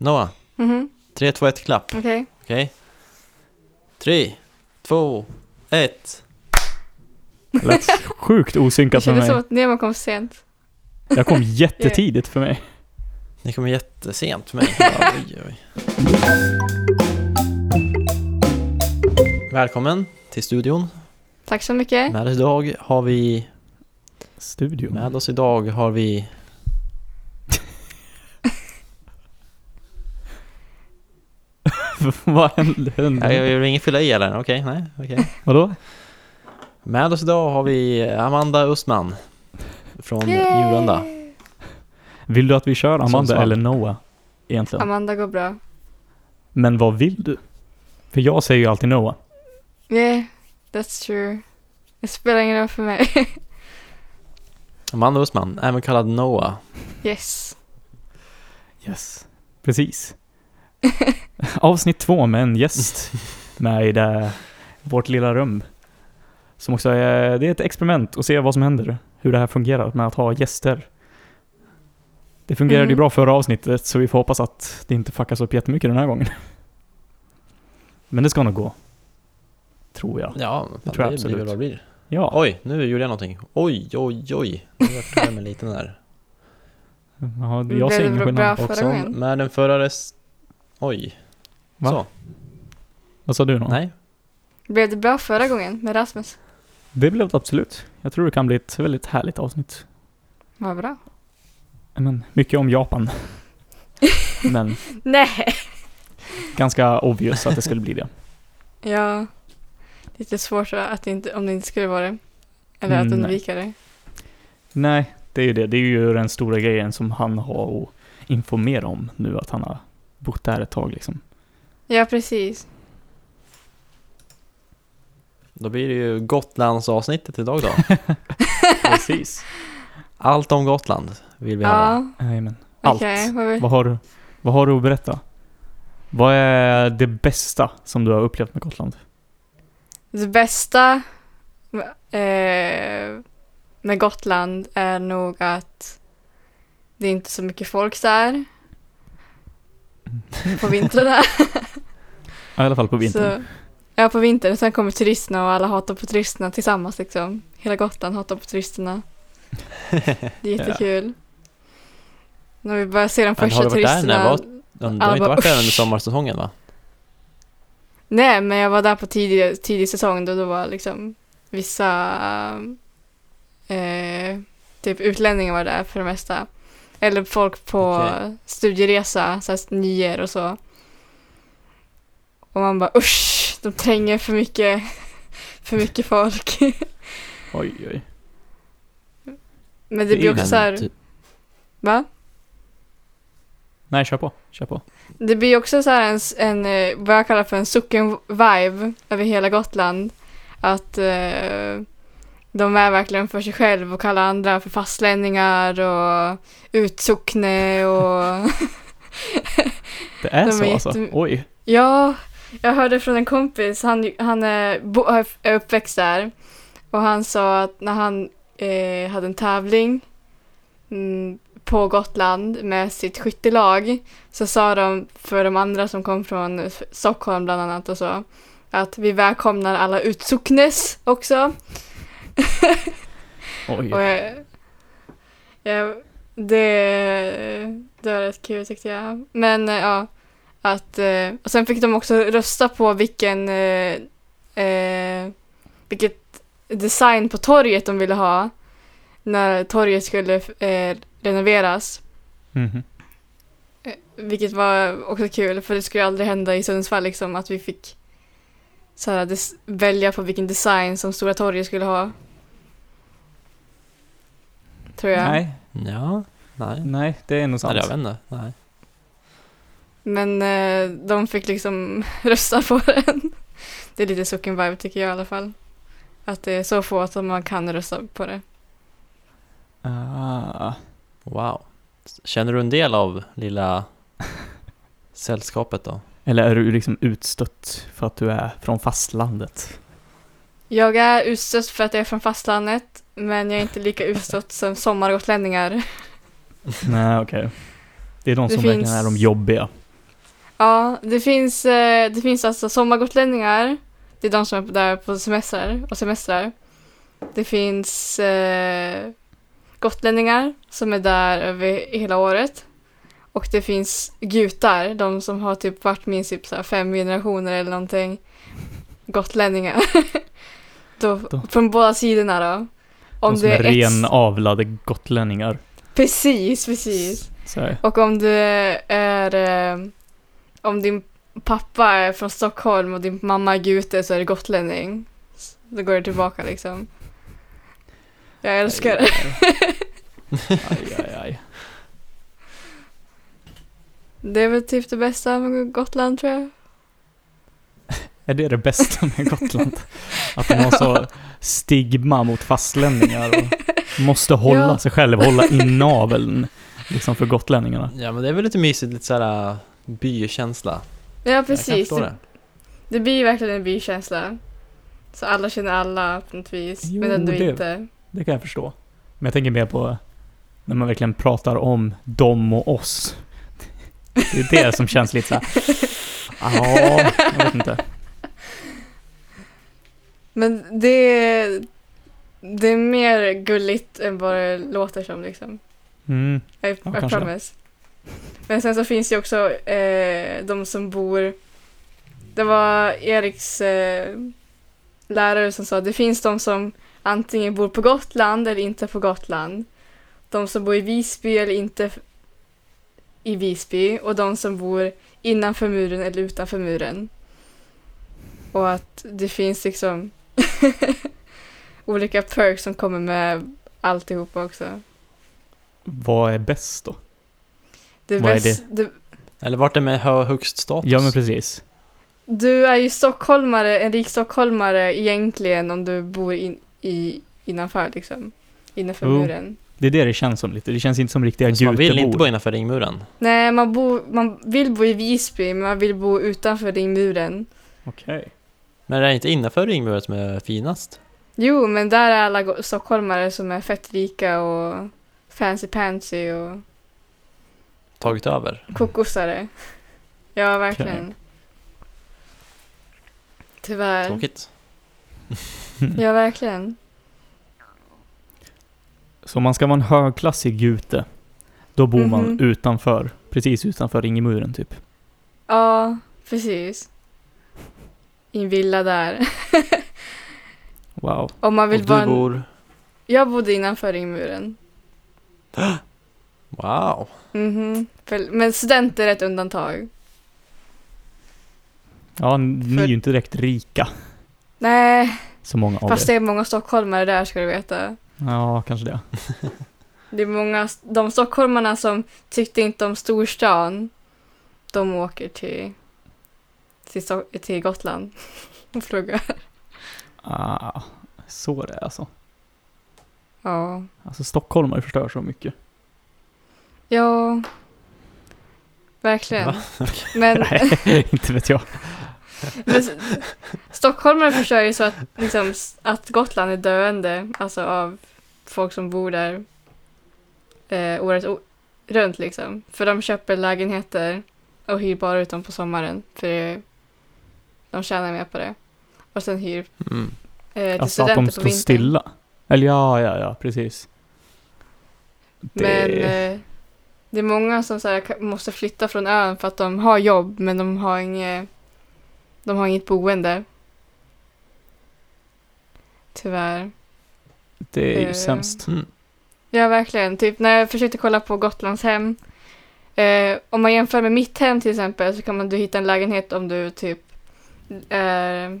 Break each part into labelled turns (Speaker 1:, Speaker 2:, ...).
Speaker 1: Noah,
Speaker 2: Mhm,
Speaker 1: 3, 2, 1, klapp.
Speaker 2: okej.
Speaker 1: Okej? 3, 2, 1.
Speaker 3: Det lät sjukt
Speaker 2: Det
Speaker 3: osynkat för
Speaker 2: kändes som
Speaker 3: mig.
Speaker 2: att Nemo kom sent.
Speaker 3: Jag kom jättetidigt för mig.
Speaker 1: Ni kommer jättesent för mig. Oj, oj. Välkommen till studion.
Speaker 2: Tack så mycket.
Speaker 1: Med oss idag har vi...
Speaker 3: Studion.
Speaker 1: Med oss idag har vi...
Speaker 3: Vad hände? hände?
Speaker 1: Nej, Jag vill inget fylla i eller? Okej, nej, okej.
Speaker 3: Vadå?
Speaker 1: Med oss idag har vi Amanda Östman. Från
Speaker 2: Yay!
Speaker 1: Njurunda.
Speaker 3: Vill du att vi kör Amanda
Speaker 1: Sundsvall.
Speaker 3: eller Noah? Egentligen.
Speaker 2: Amanda går bra.
Speaker 3: Men vad vill du? För jag säger ju alltid Noah.
Speaker 2: Yeah, that's true. Det spelar ingen roll för mig.
Speaker 1: Amanda Östman, även kallad Noah.
Speaker 2: yes.
Speaker 3: Yes. Precis. Avsnitt två med en gäst med i det, vårt lilla rum. Som också är, det är ett experiment att se vad som händer. Hur det här fungerar med att ha gäster. Det fungerade ju
Speaker 2: Mm.
Speaker 3: bra förra avsnittet så vi får hoppas att det inte fuckas upp jättemycket den här gången. Men det ska nog gå. Tror jag.
Speaker 1: Ja,
Speaker 3: Det tror jag
Speaker 1: fan, det blir
Speaker 3: absolut.
Speaker 1: väl vad det blir.
Speaker 3: Ja.
Speaker 1: Oj, nu gjorde jag någonting. Oj, oj, oj. Nu vart jag med liten där.
Speaker 3: ja
Speaker 2: Det
Speaker 3: jag ser
Speaker 2: blev
Speaker 3: ingen
Speaker 2: bra
Speaker 3: skillnad.
Speaker 2: Förra
Speaker 1: Och som
Speaker 2: gången.
Speaker 1: med den förra rest... Oj.
Speaker 3: Va?
Speaker 1: Så,
Speaker 3: Vad sa du Noah?
Speaker 1: nej.
Speaker 2: Blev det bra förra gången med Rasmus?
Speaker 3: Det blev det absolut. Jag tror det kan bli ett väldigt härligt avsnitt.
Speaker 2: Vad bra.
Speaker 3: Men, mycket om Japan. Men
Speaker 2: Nej.
Speaker 3: ganska obvious att det skulle bli det.
Speaker 2: Ja. Lite svårt att inte, om det inte skulle vara det. Eller att
Speaker 3: Mm, nej.
Speaker 2: undvika det.
Speaker 3: Nej, det är ju det. Det är ju den stora grejen som han har att informera om nu, att han har bott där ett tag liksom.
Speaker 2: Ja, precis.
Speaker 1: Då blir det ju Gotlandsavsnittet idag då.
Speaker 3: Precis.
Speaker 1: Allt om Gotland vill vi höra.
Speaker 2: Ja,
Speaker 3: Jajamän. Allt.
Speaker 2: okej. vad vi-
Speaker 3: Vad har, du, vad har du att berätta? Vad är det bästa som du har upplevt med Gotland?
Speaker 2: Det bästa eh, med Gotland är nog att det är inte så mycket folk där på vintrarna.
Speaker 3: Ja, I alla fall på vintern.
Speaker 2: Så, ja, på vintern. Sen kommer turisterna och alla hatar på turisterna tillsammans liksom. Hela Gotland hatar på turisterna. Det är jättekul. När vi börjar se de
Speaker 1: Men har
Speaker 2: första
Speaker 1: du varit där när det
Speaker 2: turisterna.
Speaker 1: var... Du har
Speaker 2: Alla
Speaker 1: inte
Speaker 2: bara,
Speaker 1: varit där under
Speaker 2: "Usch."
Speaker 1: sommarsäsongen va?
Speaker 2: Nej, men jag var där på tidig, tidig säsong då det var liksom vissa eh, typ utlänningar var där för det mesta. Eller folk på
Speaker 1: Okej.
Speaker 2: studieresa, så här nior och så. Och man bara usch, de tränger för mycket, för mycket folk.
Speaker 3: Oj, oj.
Speaker 2: men det
Speaker 3: Det
Speaker 2: blir
Speaker 3: är
Speaker 2: också
Speaker 1: Men
Speaker 2: så här,
Speaker 1: typ-
Speaker 2: va?
Speaker 3: Nej, kör på. Kör på.
Speaker 2: Det blir också så här en, s- en eh, vad jag kallar för en socken-vibe över hela Gotland. Att eh, de är verkligen för sig själv och kallar andra för fastlänningar och utsockne och...
Speaker 3: Det är
Speaker 2: De är
Speaker 3: så alltså?
Speaker 2: jätte-
Speaker 3: Oj.
Speaker 2: ja, jag hörde från en kompis, han, han är, bo, är uppväxt där. Och han sa att när han eh, hade en tävling mm, på Gotland med sitt skyttelag så sa de för de andra som kom från F- Stockholm bland annat och så att vi välkomnar alla utsocknes också.
Speaker 3: Oj.
Speaker 2: Och jag, jag, det, det var rätt kul tyckte jag. Men eh, ja, att, eh, och sen fick de också rösta på vilken, eh, eh, vilket design på torget de ville ha när torget skulle eh, renoveras.
Speaker 3: Mhm.
Speaker 2: Vilket var också kul, för det skulle ju aldrig hända i Sundsvall liksom, att vi fick så här, des- välja på vilken design som Stora torget skulle ha. Tror jag.
Speaker 3: Nej,
Speaker 1: Ja, nej.
Speaker 3: nej, det är nog sant.
Speaker 1: Nej, jag vet inte. Nej.
Speaker 2: Men eh, de fick liksom rösta på den. Det är lite sucken vibe tycker jag i alla fall. Att det är så få att man kan rösta på det.
Speaker 3: Ah.
Speaker 1: Wow. Känner du en del av lilla sällskapet då?
Speaker 3: Eller är du liksom utstött för att du är från fastlandet?
Speaker 2: Jag är utstött för att jag är från fastlandet, men jag är inte lika utstött som sommargotlänningar.
Speaker 3: Nej, okej. Det är de
Speaker 2: Det
Speaker 3: som
Speaker 2: finns-
Speaker 3: verkligen är de jobbiga.
Speaker 2: Ja, det finns, eh, det finns alltså sommargotlänningar. Det är de som är där på semester och semestrar. Det finns eh, gotlänningar som är där över hela året. Och det finns gutar, de som har typ varit minst typ så här fem generationer eller någonting. Gotlänningar. Då,
Speaker 3: Då.
Speaker 2: Från båda sidorna då. Om
Speaker 3: de som
Speaker 2: det är
Speaker 3: är
Speaker 2: ett...
Speaker 3: renavlade gotlänningar.
Speaker 2: Precis, precis.
Speaker 3: Så här.
Speaker 2: Och om du är... eh, Om din pappa är från Stockholm och din mamma är Gute så är det gotlänning. Då går det tillbaka liksom. Jag älskar det.
Speaker 3: Aj, aj, aj.
Speaker 2: Det är väl typ det bästa med Gotland tror jag.
Speaker 3: Är det det bästa med Gotland? Att de har så stigma mot fastlänningar och måste hålla
Speaker 2: Ja.
Speaker 3: sig själv, hålla in naveln. Liksom för gotlänningarna.
Speaker 1: Ja men det är väl lite mysigt, lite såhär äh, bykänsla.
Speaker 2: Ja,
Speaker 1: Jag kan
Speaker 2: precis.
Speaker 1: förstå
Speaker 2: Det,
Speaker 1: det.
Speaker 2: det blir ju verkligen en bykänsla. Så alla känner alla på något vis,
Speaker 3: Jo,
Speaker 2: men ändå
Speaker 3: det-
Speaker 2: inte.
Speaker 3: Det kan jag förstå. Men jag tänker mer på när man verkligen pratar om dem och oss. Det är det som känns lite så här. Ja, jag vet inte.
Speaker 2: Men det, det är mer gulligt än vad det låter som liksom.
Speaker 3: Mm.
Speaker 2: I,
Speaker 3: Ja,
Speaker 2: I
Speaker 3: kanske det.
Speaker 2: promise. Men sen så finns det ju också eh, de som bor... Det var Eriks eh, lärare som sa det finns de som antingen bor på Gotland eller inte på Gotland. De som bor i Visby eller inte f- i Visby och de som bor innanför muren eller utanför muren. Och att det finns liksom olika perks som kommer med alltihopa också.
Speaker 3: Vad är bäst då?
Speaker 2: Det
Speaker 3: Vad är
Speaker 2: bäst- det?
Speaker 1: Eller vart det med hö- högst status?
Speaker 3: Ja, men precis.
Speaker 2: Du är ju stockholmare, en rik stockholmare egentligen om du bor in, i, innanför liksom. Innanför
Speaker 3: Jo.
Speaker 2: muren.
Speaker 3: Det är det det känns som lite. Det känns inte som riktiga
Speaker 1: Så man vill inte bo
Speaker 3: gutebor.
Speaker 1: innanför ringmuren.
Speaker 2: Nej, man, bor, man vill bo i Visby, men man vill bo utanför ringmuren.
Speaker 3: Okej.
Speaker 1: Men det är inte innanför ringmuren som är finast?
Speaker 2: Jo, men där är alla go- stockholmare som är fett rika och fancy pansy och
Speaker 1: Tagit över?
Speaker 2: kokosare. Ja, verkligen. Tyvärr.
Speaker 1: Tråkigt.
Speaker 2: Ja, verkligen.
Speaker 3: Så om man ska vara en högklassig gute, då bor man
Speaker 2: Mhm.
Speaker 3: utanför, precis utanför ringmuren typ.
Speaker 2: Ja, precis. I en villa där.
Speaker 3: Wow.
Speaker 2: Om man
Speaker 1: Och
Speaker 2: vill
Speaker 1: du
Speaker 2: vara en-
Speaker 1: bor?
Speaker 2: Jag bodde innanför ringmuren.
Speaker 1: Wow.
Speaker 2: Mhm. För- Men studenter är ett undantag.
Speaker 3: Ja, ni är
Speaker 2: För-
Speaker 3: ju inte direkt rika,
Speaker 2: Nej,
Speaker 3: så många av
Speaker 2: fast
Speaker 3: er.
Speaker 2: det är många stockholmare där ska du veta.
Speaker 3: Ja, kanske det.
Speaker 2: Det är många, de stockholmarna som tyckte inte om storstan, de åker till, till, Stock- till Gotland och pluggar.
Speaker 3: Ah, så det är alltså.
Speaker 2: Ja.
Speaker 3: Alltså stockholmare förstör så mycket.
Speaker 2: Ja. Verkligen.
Speaker 1: Va?
Speaker 2: Men,
Speaker 3: Nej, inte vet jag.
Speaker 2: men s- stockholmare försörjer ju så att, liksom, s- att Gotland är döende, alltså av folk som bor där eh, året o- runt liksom. För de köper lägenheter och hyr bara ut dem på sommaren för det, de tjänar mer på det. Och sen hyr
Speaker 1: Mm.
Speaker 2: eh, till
Speaker 3: Alltså att
Speaker 2: studenter
Speaker 3: de
Speaker 2: på
Speaker 3: står
Speaker 2: vintern.
Speaker 3: stilla. Eller ja, ja, ja, precis. Det...
Speaker 2: Men eh, det är många som så här, ka- måste flytta från ön för att de har jobb men de har inget, de har inget boende. Tyvärr.
Speaker 3: det är ju
Speaker 2: eh,
Speaker 3: sämst.
Speaker 1: Mm.
Speaker 2: Ja, verkligen. Typ när jag försökte kolla på Gotlands hem. Eh, om man jämför med mitt hem till exempel så kan man du hitta en lägenhet om du typ är,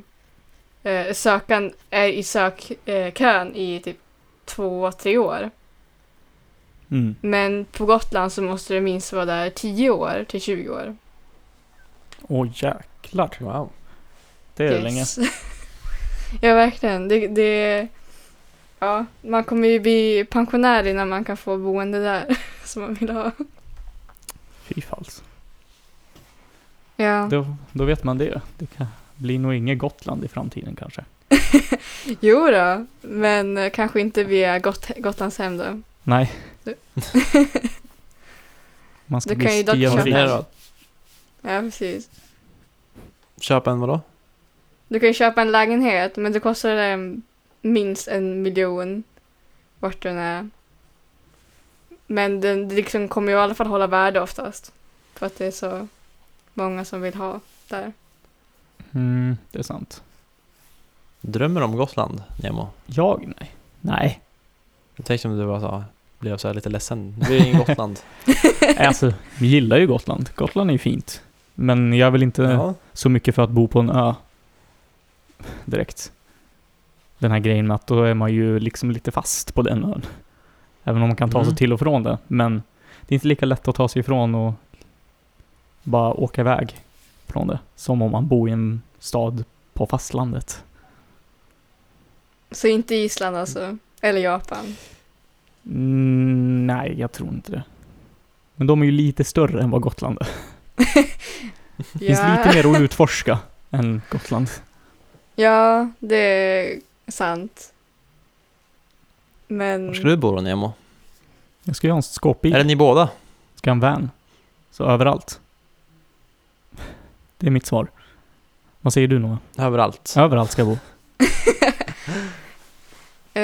Speaker 2: eh, sökan, är i sökkön eh, kön i typ två, tre år.
Speaker 3: Mm.
Speaker 2: Men på Gotland så måste du minst vara där 10 år till 20 år.
Speaker 3: Åh jäklar,
Speaker 1: Wow.
Speaker 3: det är det
Speaker 2: Yes.
Speaker 3: länge.
Speaker 2: ja, verkligen. Det, det, ja, man kommer ju bli pensionär innan man kan få boende där som man vill ha.
Speaker 3: Fy fals.
Speaker 2: Ja.
Speaker 3: Då, då vet man det. Det kan, blir nog inget Gotland i framtiden kanske.
Speaker 2: Jo då, men eh, kanske inte via Got Gotlandshem då.
Speaker 3: Nej.
Speaker 2: Du-
Speaker 3: Man ska
Speaker 2: Du
Speaker 3: bli
Speaker 2: kan ju dock
Speaker 1: Vad
Speaker 2: köpa-
Speaker 3: stenrik.
Speaker 1: är det då?
Speaker 2: Ja, precis.
Speaker 1: Köpa en vadå?
Speaker 2: Du kan ju köpa en lägenhet, men det kostar eh, minst en miljon vart den är. Men den det liksom kommer ju i alla fall hålla värde oftast. För att det är så många som vill ha där.
Speaker 3: Mm, det är sant.
Speaker 1: Drömmer om Gotland, Nemo?
Speaker 3: Jag? Nej. Nej.
Speaker 1: Jag tänkte om du bara sa, blev så här lite ledsen. Det är ingen Gotland.
Speaker 3: Alltså, vi gillar ju Gotland. Gotland är ju fint. Men jag vill inte
Speaker 1: ja.
Speaker 3: så mycket för att bo på en ö. Direkt. Den här grejen med att då är man ju liksom lite fast på den ön. Även om man kan ta sig
Speaker 1: Mm.
Speaker 3: till och från det. Men det är inte lika lätt att ta sig ifrån och bara åka iväg från det. Som om man bor i en stad på fastlandet.
Speaker 2: Så inte Island alltså. Eller Japan.
Speaker 3: Mm, nej, jag tror inte det. Men de är ju lite större än vad Gotland är. Det finns
Speaker 2: Ja.
Speaker 3: lite mer att utforska än Gotland.
Speaker 2: Ja, det är sant. Men...
Speaker 1: Var ska du bo då, Nemo?
Speaker 3: Jag ska ju ha en skåpbil.
Speaker 1: Är det ni båda?
Speaker 3: Ska ha en van. Så överallt. Det är mitt svar. Vad säger du Noah?
Speaker 1: Överallt?
Speaker 3: Överallt ska jag bo.
Speaker 2: Eh,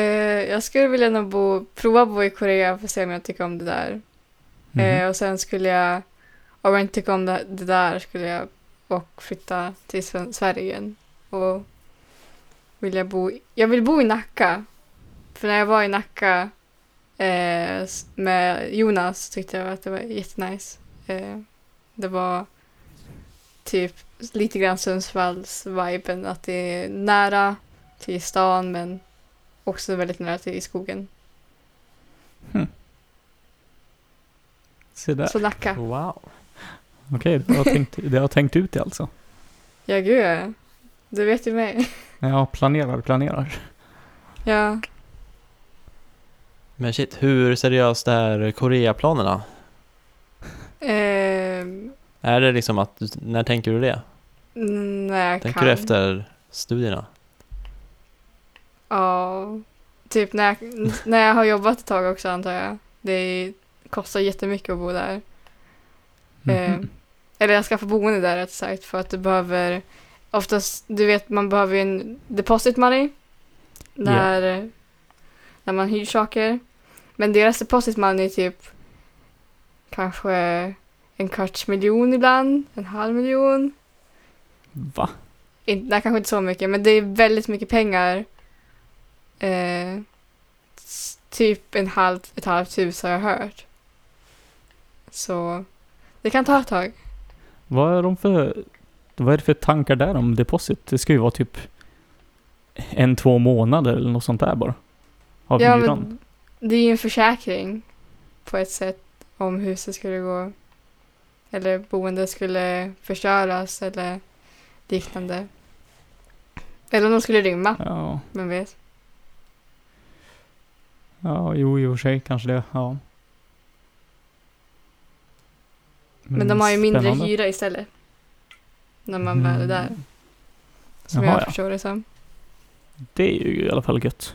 Speaker 2: jag skulle vilja nog bo, prova bo i Korea för att se om jag tycker om det där.
Speaker 3: Mhm.
Speaker 2: Eh, och sen skulle jag, om jag inte tycker om det, det där, skulle jag och flytta till Sven- Sverige igen. Och vill jag bo, i- jag vill bo i Nacka. För när jag var i Nacka eh, s- med Jonas så tyckte jag att det var jättenice. Eh, det var typ lite grann Sundsvalls-viben, att det är nära till stan men också väldigt nära till skogen.
Speaker 3: Se där.
Speaker 2: Så Nacka.
Speaker 1: Wow.
Speaker 3: Okej, det har jag tänkt, det har jag tänkt ut det alltså.
Speaker 2: Ja, gud ja. Du vet ju mig.
Speaker 3: Jag planerar, planerar.
Speaker 2: Ja.
Speaker 1: Men shit, hur seriöst är Koreaplanerna?
Speaker 2: Ehm,
Speaker 1: Är det liksom att, när tänker du det?
Speaker 2: när jag
Speaker 1: Tänker
Speaker 2: kan.
Speaker 1: du efter studierna?
Speaker 2: Ja. Typ när jag, när jag har jobbat ett tag också antar jag. Det kostar jättemycket att bo där.
Speaker 3: Mhm.
Speaker 2: Eh, eller jag skaffar boende där rätt sagt för att du behöver oftast, du vet man behöver ju en deposit money när, när man hyr saker. Men deras deposit money är typ kanske en kvarts miljon ibland, en halv miljon.
Speaker 3: Va?
Speaker 2: Inte, nej, kanske inte så mycket, men det är väldigt mycket pengar. Eh, s- typ en halv, ett halvt hus har jag hört. Så det kan ta ett tag.
Speaker 3: Vad är de för... Vad är det för tankar där om deposit? Det ska ju vara typ en, två månader eller något sånt där bara. Av
Speaker 2: Ja,
Speaker 3: hyran.
Speaker 2: men det är ju en försäkring på ett sätt om huset skulle gå eller boendet skulle förstöras eller liknande. Eller om de skulle rymma,
Speaker 3: Ja,
Speaker 2: vem vet.
Speaker 3: ja, jo i och för sig kanske det, ja.
Speaker 2: Men de har ju mindre
Speaker 3: spännande.
Speaker 2: hyra istället. När man väl är där,
Speaker 3: Mm.
Speaker 2: som
Speaker 3: Jaha,
Speaker 2: jag
Speaker 3: ja.
Speaker 2: förstår det som.
Speaker 3: Det är ju i alla fall gött.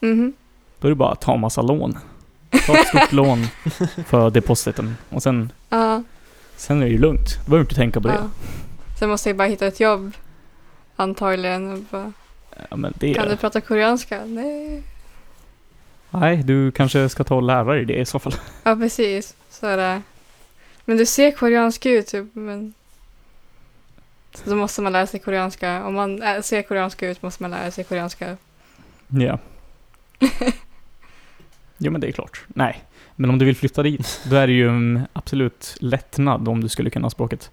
Speaker 2: Mhm.
Speaker 3: Då är det bara att ta massa lån. Ta ett stort lån för depositen och sen,
Speaker 2: Ja,
Speaker 3: sen är det ju lugnt. Du behöver inte tänka på det.
Speaker 2: ja. Sen måste jag bara hitta ett jobb, antagligen. Och bara,
Speaker 3: Ja, men det
Speaker 2: Kan du prata koreanska? Nej.
Speaker 3: Nej, du kanske ska ta och lära dig det i så fall.
Speaker 2: Ja, precis. Så är det. Men du ser koreansk ut, typ, men... Så då måste man lära sig koreanska. Om man äh, ser koreansk ut måste man lära sig koreanska.
Speaker 3: Ja. Jo men det är klart. Nej. Men om du vill flytta dit, då är det ju en absolut lättnad om du skulle kunna språket.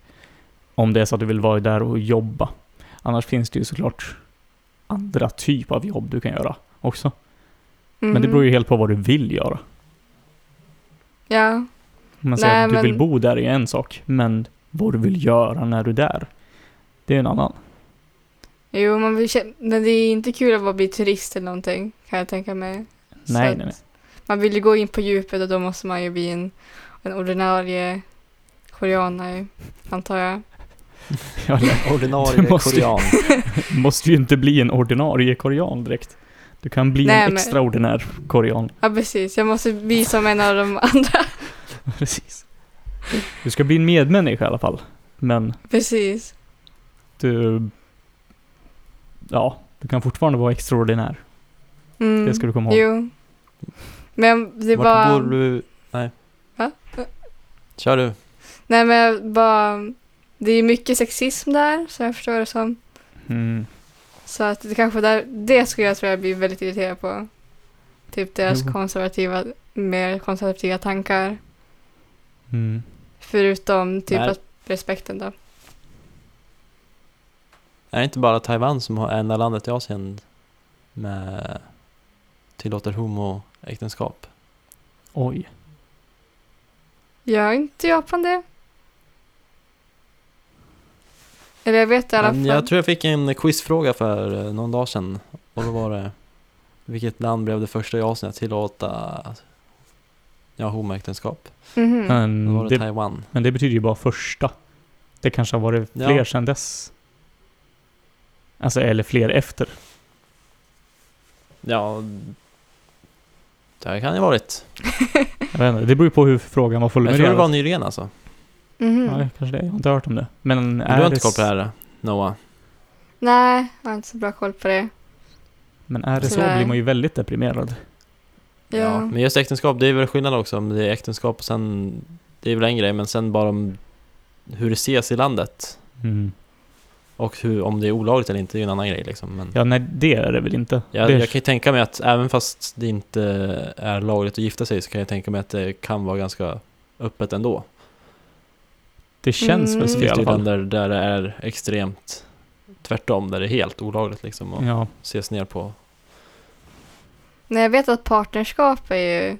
Speaker 3: Om det är så att du vill vara där och jobba. Annars finns det ju såklart andra typ av jobb du kan göra också. Men det
Speaker 2: Mhm.
Speaker 3: beror ju helt på vad du vill göra.
Speaker 2: Ja,
Speaker 3: Om man säger
Speaker 2: Nej,
Speaker 3: att du vill
Speaker 2: men-
Speaker 3: bo där är en sak, men vad du vill göra när du är där, det är en annan.
Speaker 2: jo, man vill kä- men det är inte kul att bara bli turist eller någonting, kan jag tänka mig. Så
Speaker 3: Nej,
Speaker 2: att
Speaker 3: nej, nej.
Speaker 2: Man vill ju gå in på djupet och då måste man ju bli en, en ordinarie koreanare, antar jag.
Speaker 3: Ja, eller- Du
Speaker 1: Ordinarie
Speaker 3: måste ju-
Speaker 1: korean.
Speaker 3: måste ju inte bli en ordinarie korean direkt. Du kan bli
Speaker 2: Nej,
Speaker 3: en
Speaker 2: men-
Speaker 3: extraordinär korean.
Speaker 2: Ja, precis. Jag måste bli som en av de andra.
Speaker 3: Precis. Du ska bli en medmänniska i alla fall. Men
Speaker 2: Precis.
Speaker 3: du... Ja, du kan fortfarande vara extraordinär.
Speaker 2: Mm.
Speaker 3: Det ska du komma ihåg.
Speaker 2: Jo. Men det
Speaker 1: Vart
Speaker 2: var...
Speaker 1: bor du? Nej.
Speaker 2: Va?
Speaker 1: Kör du.
Speaker 2: Nej men jag bara... Det är mycket sexism där, så jag förstår det som.
Speaker 3: Mm.
Speaker 2: Så att det kanske där... Det skulle jag tror jag bli väldigt irriterad på. Typ deras
Speaker 3: Jo.
Speaker 2: konservativa, mer konservativa tankar.
Speaker 3: Mm.
Speaker 2: Förutom typ
Speaker 1: Nej.
Speaker 2: att respekten då.
Speaker 1: Är det inte bara Taiwan som har enda landet i Asien med tillåter homoäktenskap?
Speaker 3: Oj.
Speaker 2: Gör inte Japan det? Eller jag vet i alla
Speaker 1: Men
Speaker 2: fall.
Speaker 1: jag tror jag fick en quizfråga för eh, någon dag sedan och då var det vilket land blev det första i Asien att tillåta ja, homoäktenskap?
Speaker 2: Mhm.
Speaker 1: Då var
Speaker 3: Men,
Speaker 1: det,
Speaker 3: Mm, det,
Speaker 1: Taiwan.
Speaker 3: men det betyder ju bara första. Det kanske har varit
Speaker 1: Ja.
Speaker 3: fler sedan dess. Alltså, eller fler efter.
Speaker 1: Ja, det kan det ha varit.
Speaker 3: Jag vet inte, det beror ju på hur frågan var
Speaker 1: Jag tror det
Speaker 3: formulerad.
Speaker 1: var nyligen alltså.
Speaker 2: Mhm.
Speaker 3: Ja, kanske det. Jag har inte hört om det. Men
Speaker 1: Men Du har
Speaker 3: är
Speaker 1: inte
Speaker 3: det,
Speaker 1: koll på det
Speaker 3: s-
Speaker 1: här Noah?
Speaker 2: Nej, jag har inte så bra koll på det.
Speaker 3: men är det så
Speaker 2: Tyvärr.
Speaker 3: blir man ju väldigt deprimerad.
Speaker 2: Ja.
Speaker 1: Men just äktenskap, det är väl skillnad också om det är äktenskap och sen, det är väl en grej, men sen bara om hur det ses i landet
Speaker 3: Mm.
Speaker 1: och hur, om det är olagligt eller inte, det är ju en annan grej liksom. Men
Speaker 3: Ja, nej, det är det väl inte.
Speaker 1: jag,
Speaker 3: det,
Speaker 1: jag kan ju tänka mig att även fast det inte är lagligt att gifta sig så kan jag tänka mig att det kan vara ganska öppet ändå.
Speaker 3: det känns
Speaker 2: Mm.
Speaker 3: väl
Speaker 1: Mm. Det
Speaker 3: så i
Speaker 1: finns det
Speaker 3: alla
Speaker 1: ju
Speaker 3: fall.
Speaker 1: länder där det är extremt tvärtom, där det är helt olagligt liksom och
Speaker 3: Ja,
Speaker 1: ses ner på.
Speaker 2: Nej, jag vet att partnerskap är ju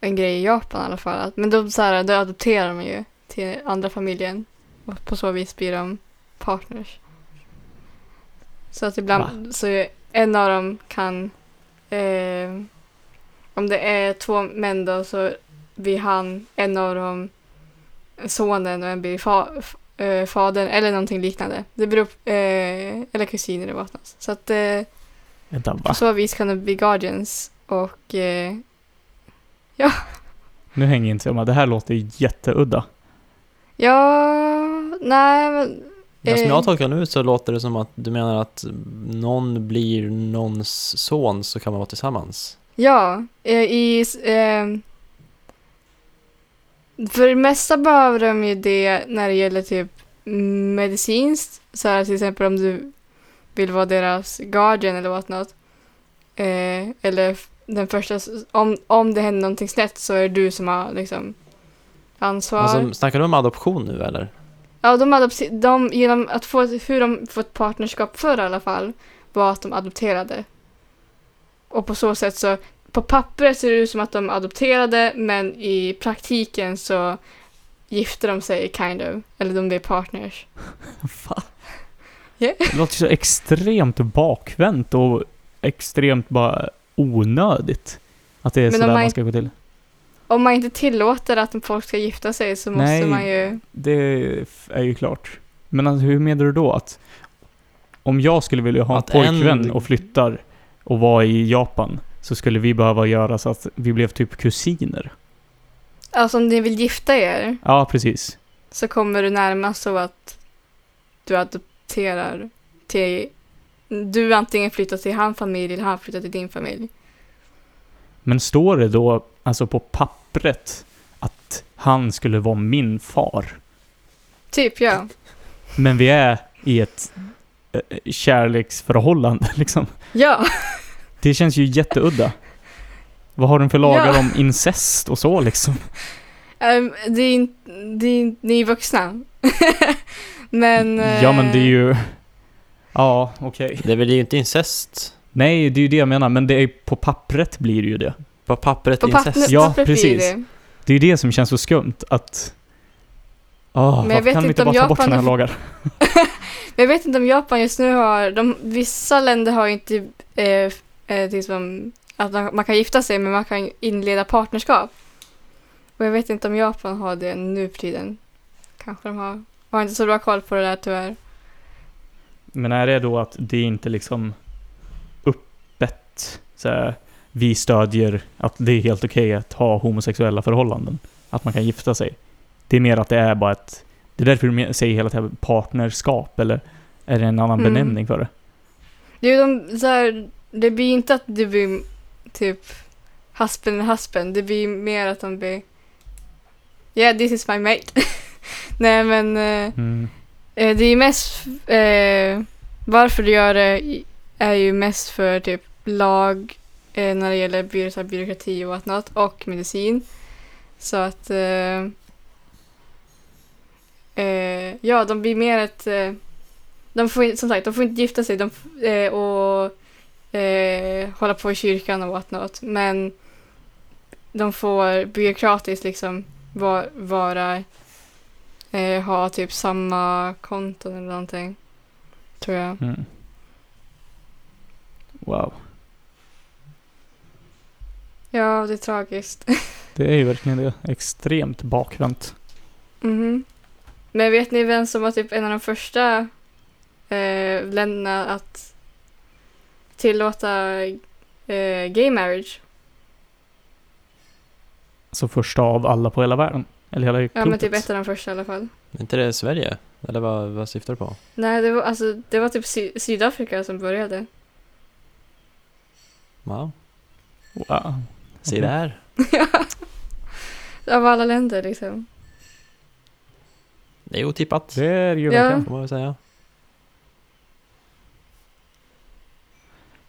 Speaker 2: en grej i Japan i alla fall. Att- Men då, så här, då adopterar de ju till andra familjen och på så vis blir de partners. Så att ibland så är en av dem kan, eh, om det är två män då så blir han en av dem sonen och en blir fa, f, eh, fadern eller någonting liknande. Det beror på, eh, eller kusiner eller vad som helst. Så att eh,
Speaker 3: vänta
Speaker 2: på
Speaker 3: va?
Speaker 2: så vis kan det bli Guardians och eh,
Speaker 3: Nu hänger inte jag med. Det här låter ju jätteudda.
Speaker 2: ja, nej men
Speaker 1: Men som
Speaker 2: Eh.
Speaker 1: jag tolkar nu så låter det som att du menar att någon blir någons son så kan man vara tillsammans.
Speaker 2: ja, eh, i eh, för det mesta behöver de ju det när det gäller typ medicinskt, så här till exempel om du vill vara deras guardian eller vad något. Eh, eller f- den första, s- om, om det händer någonting snett så är det du som har liksom ansvar.
Speaker 1: Alltså, snackar du om adoption nu eller?
Speaker 2: Ja, de, adopti- de genom att få, hur de fått partnerskap förr i alla fall var att de adopterade. Och på så sätt så, på pappret ser det ut som att de adopterade men i praktiken så gifte de sig kind of, eller de blev partners.
Speaker 3: Va?
Speaker 2: Ja.
Speaker 3: Det låter ju så extremt bakvänt och extremt bara onödigt. Att det är
Speaker 2: Men
Speaker 3: sådär
Speaker 2: om man-
Speaker 3: man ska gå till.
Speaker 2: Om man inte tillåter att folk ska gifta sig så måste
Speaker 3: Nej.
Speaker 2: man ju...
Speaker 3: Det f- är ju klart. Men alltså, hur menar du då att om jag skulle vilja ha
Speaker 1: Att
Speaker 3: en pojkvän
Speaker 1: en-
Speaker 3: och flyttar och vara i Japan så skulle vi behöva göra så att vi blev typ kusiner?
Speaker 2: Alltså om ni vill gifta er
Speaker 3: Ja, precis.
Speaker 2: så kommer du närmast så att du adopterar till... Du antingen flyttar till hans familj eller han flyttar till din familj.
Speaker 3: Men står det då alltså på pappret att han skulle vara min far?
Speaker 2: Typ ja.
Speaker 3: Men vi är i ett eh, kärleksförhållande liksom.
Speaker 2: Ja,
Speaker 3: Det känns ju jätteudda. Vad har de för lagar
Speaker 2: Ja.
Speaker 3: om incest och så liksom?
Speaker 2: ehm, det är, in, det är, in- ni är vuxna. men... eh,
Speaker 3: Ja men det är ju... Ja, okej.
Speaker 1: Det är väl inte incest?
Speaker 3: Nej, det är ju det jag menar, men det är på pappret blir det ju det.
Speaker 1: På pappret
Speaker 2: På
Speaker 1: incest?
Speaker 2: pappret,
Speaker 3: Ja,
Speaker 2: pappret blir
Speaker 3: precis.
Speaker 2: det.
Speaker 3: Det är ju det som känns så skumt att... Ah,
Speaker 2: jag
Speaker 3: varför
Speaker 2: vet
Speaker 3: kan vi
Speaker 2: inte
Speaker 3: inte
Speaker 2: om
Speaker 3: bara ta bort
Speaker 2: Japan-
Speaker 3: sådana här lagar?
Speaker 2: Men jag vet inte om Japan just nu har... De, vissa länder har ju inte... Eh, eh, liksom, att man man kan gifta sig men man kan inleda partnerskap. Och jag vet inte om Japan har det nu för tiden. Kanske de har. Jag har inte så bra koll på det där tyvärr.
Speaker 3: Men är det då att det inte liksom öppet så här, vi stödjer att det är helt okej att ha homosexuella förhållanden? Att man kan gifta sig? Det är mer att det är bara ett Det är därför de säger hela tiden partnerskap, eller är det en annan
Speaker 2: Mm.
Speaker 3: benämning för det?
Speaker 2: Det, är ju de, så här, det blir inte att det blir typ husband and husband. Det blir mer att de blir Yeah, this is my mate. Nej, men eh,
Speaker 3: Mm.
Speaker 2: eh, det är mest eh, varför du gör det i- är ju mest för typ lag eh, när det gäller by- så här, byråkrati och whatnot och medicin. Så att eh, eh, ja, de blir mer ett eh, de får, in- som sagt, de får inte gifta sig de, f- eh, och eh, hålla på i kyrkan och whatnot. Men de får byråkratiskt liksom va, vara, eh, ha typ samma konton eller någonting. Tror jag.
Speaker 3: Mm. Wow.
Speaker 2: Ja, det är tragiskt.
Speaker 3: Det är ju verkligen det. Extremt bakvänt.
Speaker 2: Mhm. Men vet ni vem som var typ en av de första eh, länderna att tillåta eh, gay marriage?
Speaker 3: Så Alltså första av alla på hela världen. Eller hela
Speaker 2: Ja,
Speaker 3: klotet.
Speaker 2: men typ ett av de första i alla fall.
Speaker 1: Är inte det Sverige? Eller vad, vad syftar du på?
Speaker 2: Nej, det var, alltså, det var typ Sy- Sydafrika som började.
Speaker 1: Wow,
Speaker 3: Wow.
Speaker 1: se
Speaker 3: Okej.
Speaker 1: där.
Speaker 2: Av alla länder liksom.
Speaker 1: Det är otippat,
Speaker 3: Det är ju
Speaker 2: Ja.
Speaker 3: verkligen.
Speaker 1: får man väl säga.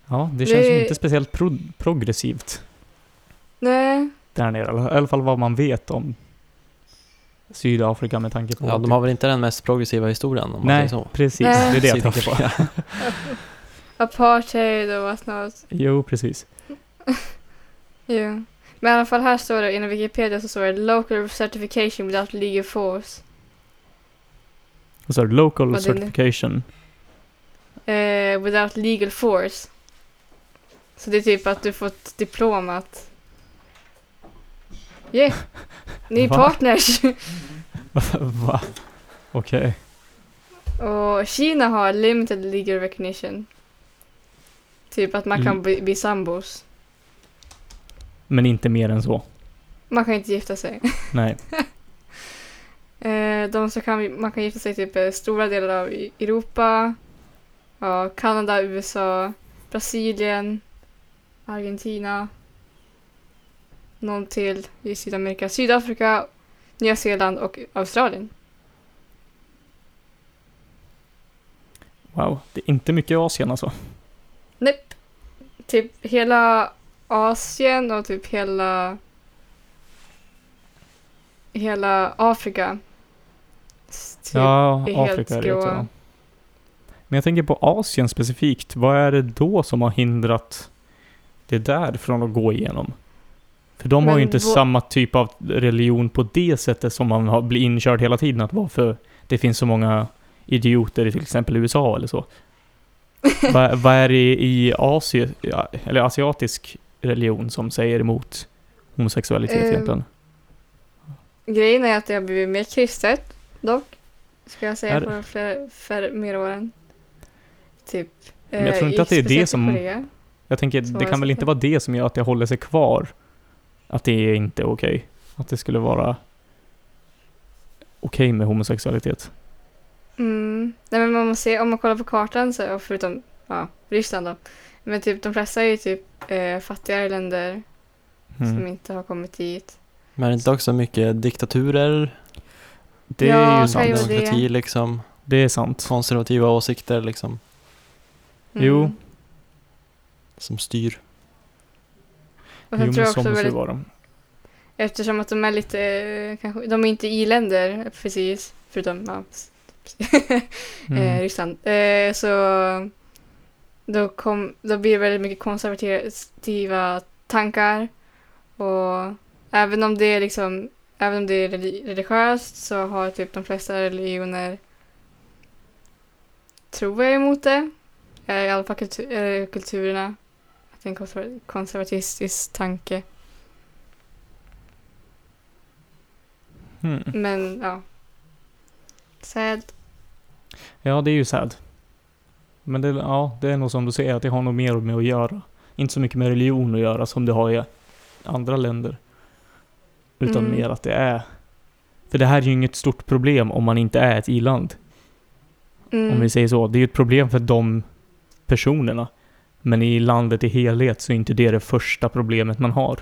Speaker 3: Ja, det
Speaker 2: Det-
Speaker 3: känns ju inte speciellt pro progressivt
Speaker 2: Nej,
Speaker 3: där nere. Eller- I alla fall vad man vet om Sydafrika med tanke på...
Speaker 1: Ja,
Speaker 3: att-
Speaker 1: de har väl inte den mest progressiva historien om man
Speaker 3: Nej,
Speaker 1: säger så.
Speaker 3: precis.
Speaker 2: Nej.
Speaker 3: Det är det jag tänker på.
Speaker 1: Sydafrika.
Speaker 2: apartheid och whatnot.
Speaker 3: Jo, precis.
Speaker 2: Ja. Men i alla fall här står det, inom Wikipedia så står det Local certification without legal force.
Speaker 3: Och så är det local
Speaker 2: Vad är det?
Speaker 3: certification.
Speaker 2: Eh, without legal force. Så det är typ att du får ett diplom att... Yeah! Ni är
Speaker 3: Va?
Speaker 2: partners!
Speaker 3: Va? Okej.
Speaker 2: och Kina har limited legal recognition. Typ att man kan
Speaker 3: Mm.
Speaker 2: bli, bli sambos.
Speaker 3: Men inte mer än så.
Speaker 2: Man kan inte gifta sig.
Speaker 3: Nej.
Speaker 2: Eh, de som kan, man kan gifta sig typ eh, stora delar av i- Europa, ja, Kanada, USA, Brasilien, Argentina, någon till i Sydamerika, Sydafrika, Nya Zeeland och Australien.
Speaker 3: Wow. Det är inte mycket Asien alltså.
Speaker 2: Nej, typ hela Asien och typ hela hela Afrika. S- Typ.
Speaker 3: ja,
Speaker 2: är helt
Speaker 3: Afrika är det
Speaker 2: grå.
Speaker 3: också. ja. Men jag tänker på Asien specifikt. Vad är det då som har hindrat det där från att gå igenom? För de har
Speaker 2: Men
Speaker 3: ju inte
Speaker 2: vå-
Speaker 3: samma typ av religion på det sättet som man har blivit inkörd hela tiden att varför det finns så många idioter i till exempel USA eller så. Vad vad är det i Asien, eller asiatisk religion som säger emot homosexualitet
Speaker 2: Ehm,
Speaker 3: egentligen?
Speaker 2: Grejen är att det har blivit mer kristet dock, ska jag säga,
Speaker 3: Är
Speaker 2: på
Speaker 3: det?
Speaker 2: de fler, för mer åren. Typ.
Speaker 3: Men jag tror
Speaker 2: eh,
Speaker 3: inte att det är det
Speaker 2: speciellt i
Speaker 3: som-
Speaker 2: Korea.
Speaker 3: Jag tänker,
Speaker 2: Så
Speaker 3: det
Speaker 2: jag
Speaker 3: kan väl
Speaker 2: ska-
Speaker 3: inte vara det som gör att det håller sig kvar? Att det är inte okej? Att det skulle vara okej med homosexualitet?
Speaker 2: Mm. Nej men man måste se, om man kollar på kartan så, och förutom ja, Ryssland då. Men typ de flesta är ju typ eh, fattigare länder som
Speaker 3: Mm.
Speaker 2: inte har kommit dit.
Speaker 1: Men är det inte också mycket diktaturer,
Speaker 3: Det
Speaker 2: Ja,
Speaker 3: är ju
Speaker 2: kan
Speaker 3: sant.
Speaker 2: ju vara det.
Speaker 1: demokrati liksom,
Speaker 3: Det är sant.
Speaker 1: konservativa åsikter liksom,
Speaker 2: Mm.
Speaker 3: Jo.
Speaker 1: som styr.
Speaker 2: Och
Speaker 3: jo,
Speaker 2: sen tror
Speaker 3: men
Speaker 2: jag
Speaker 3: så
Speaker 2: också
Speaker 3: måste det
Speaker 2: väldigt,
Speaker 3: vara.
Speaker 2: eftersom att de är lite, eh, kanske, de är inte i-länder precis, förutom ja, eh,
Speaker 3: Mm.
Speaker 2: Ryssland. Eh, så då, kom, då blir det väldigt mycket konservativa tankar. Och även om det är, liksom, även om det är reli- religiöst så har typ de flesta religioner, tror jag, emot det. Eh, I alla fall kultu- eh, kulturerna. Att det är en konserva- konservatistisk tanke.
Speaker 3: Mm.
Speaker 2: Men ja. Sad.
Speaker 3: Ja, det är ju sad. Men det, ja, det är nog som du säger, att det har nog mer med att göra. Inte så mycket med religion att göra som det har i andra länder. Utan
Speaker 2: Mm.
Speaker 3: mer att det är För det här är ju inget stort problem om man inte är ett i-land.
Speaker 2: Mm.
Speaker 3: Om vi säger så. Det är ju ett problem för de personerna. Men i landet i helhet så är inte det det första problemet man har.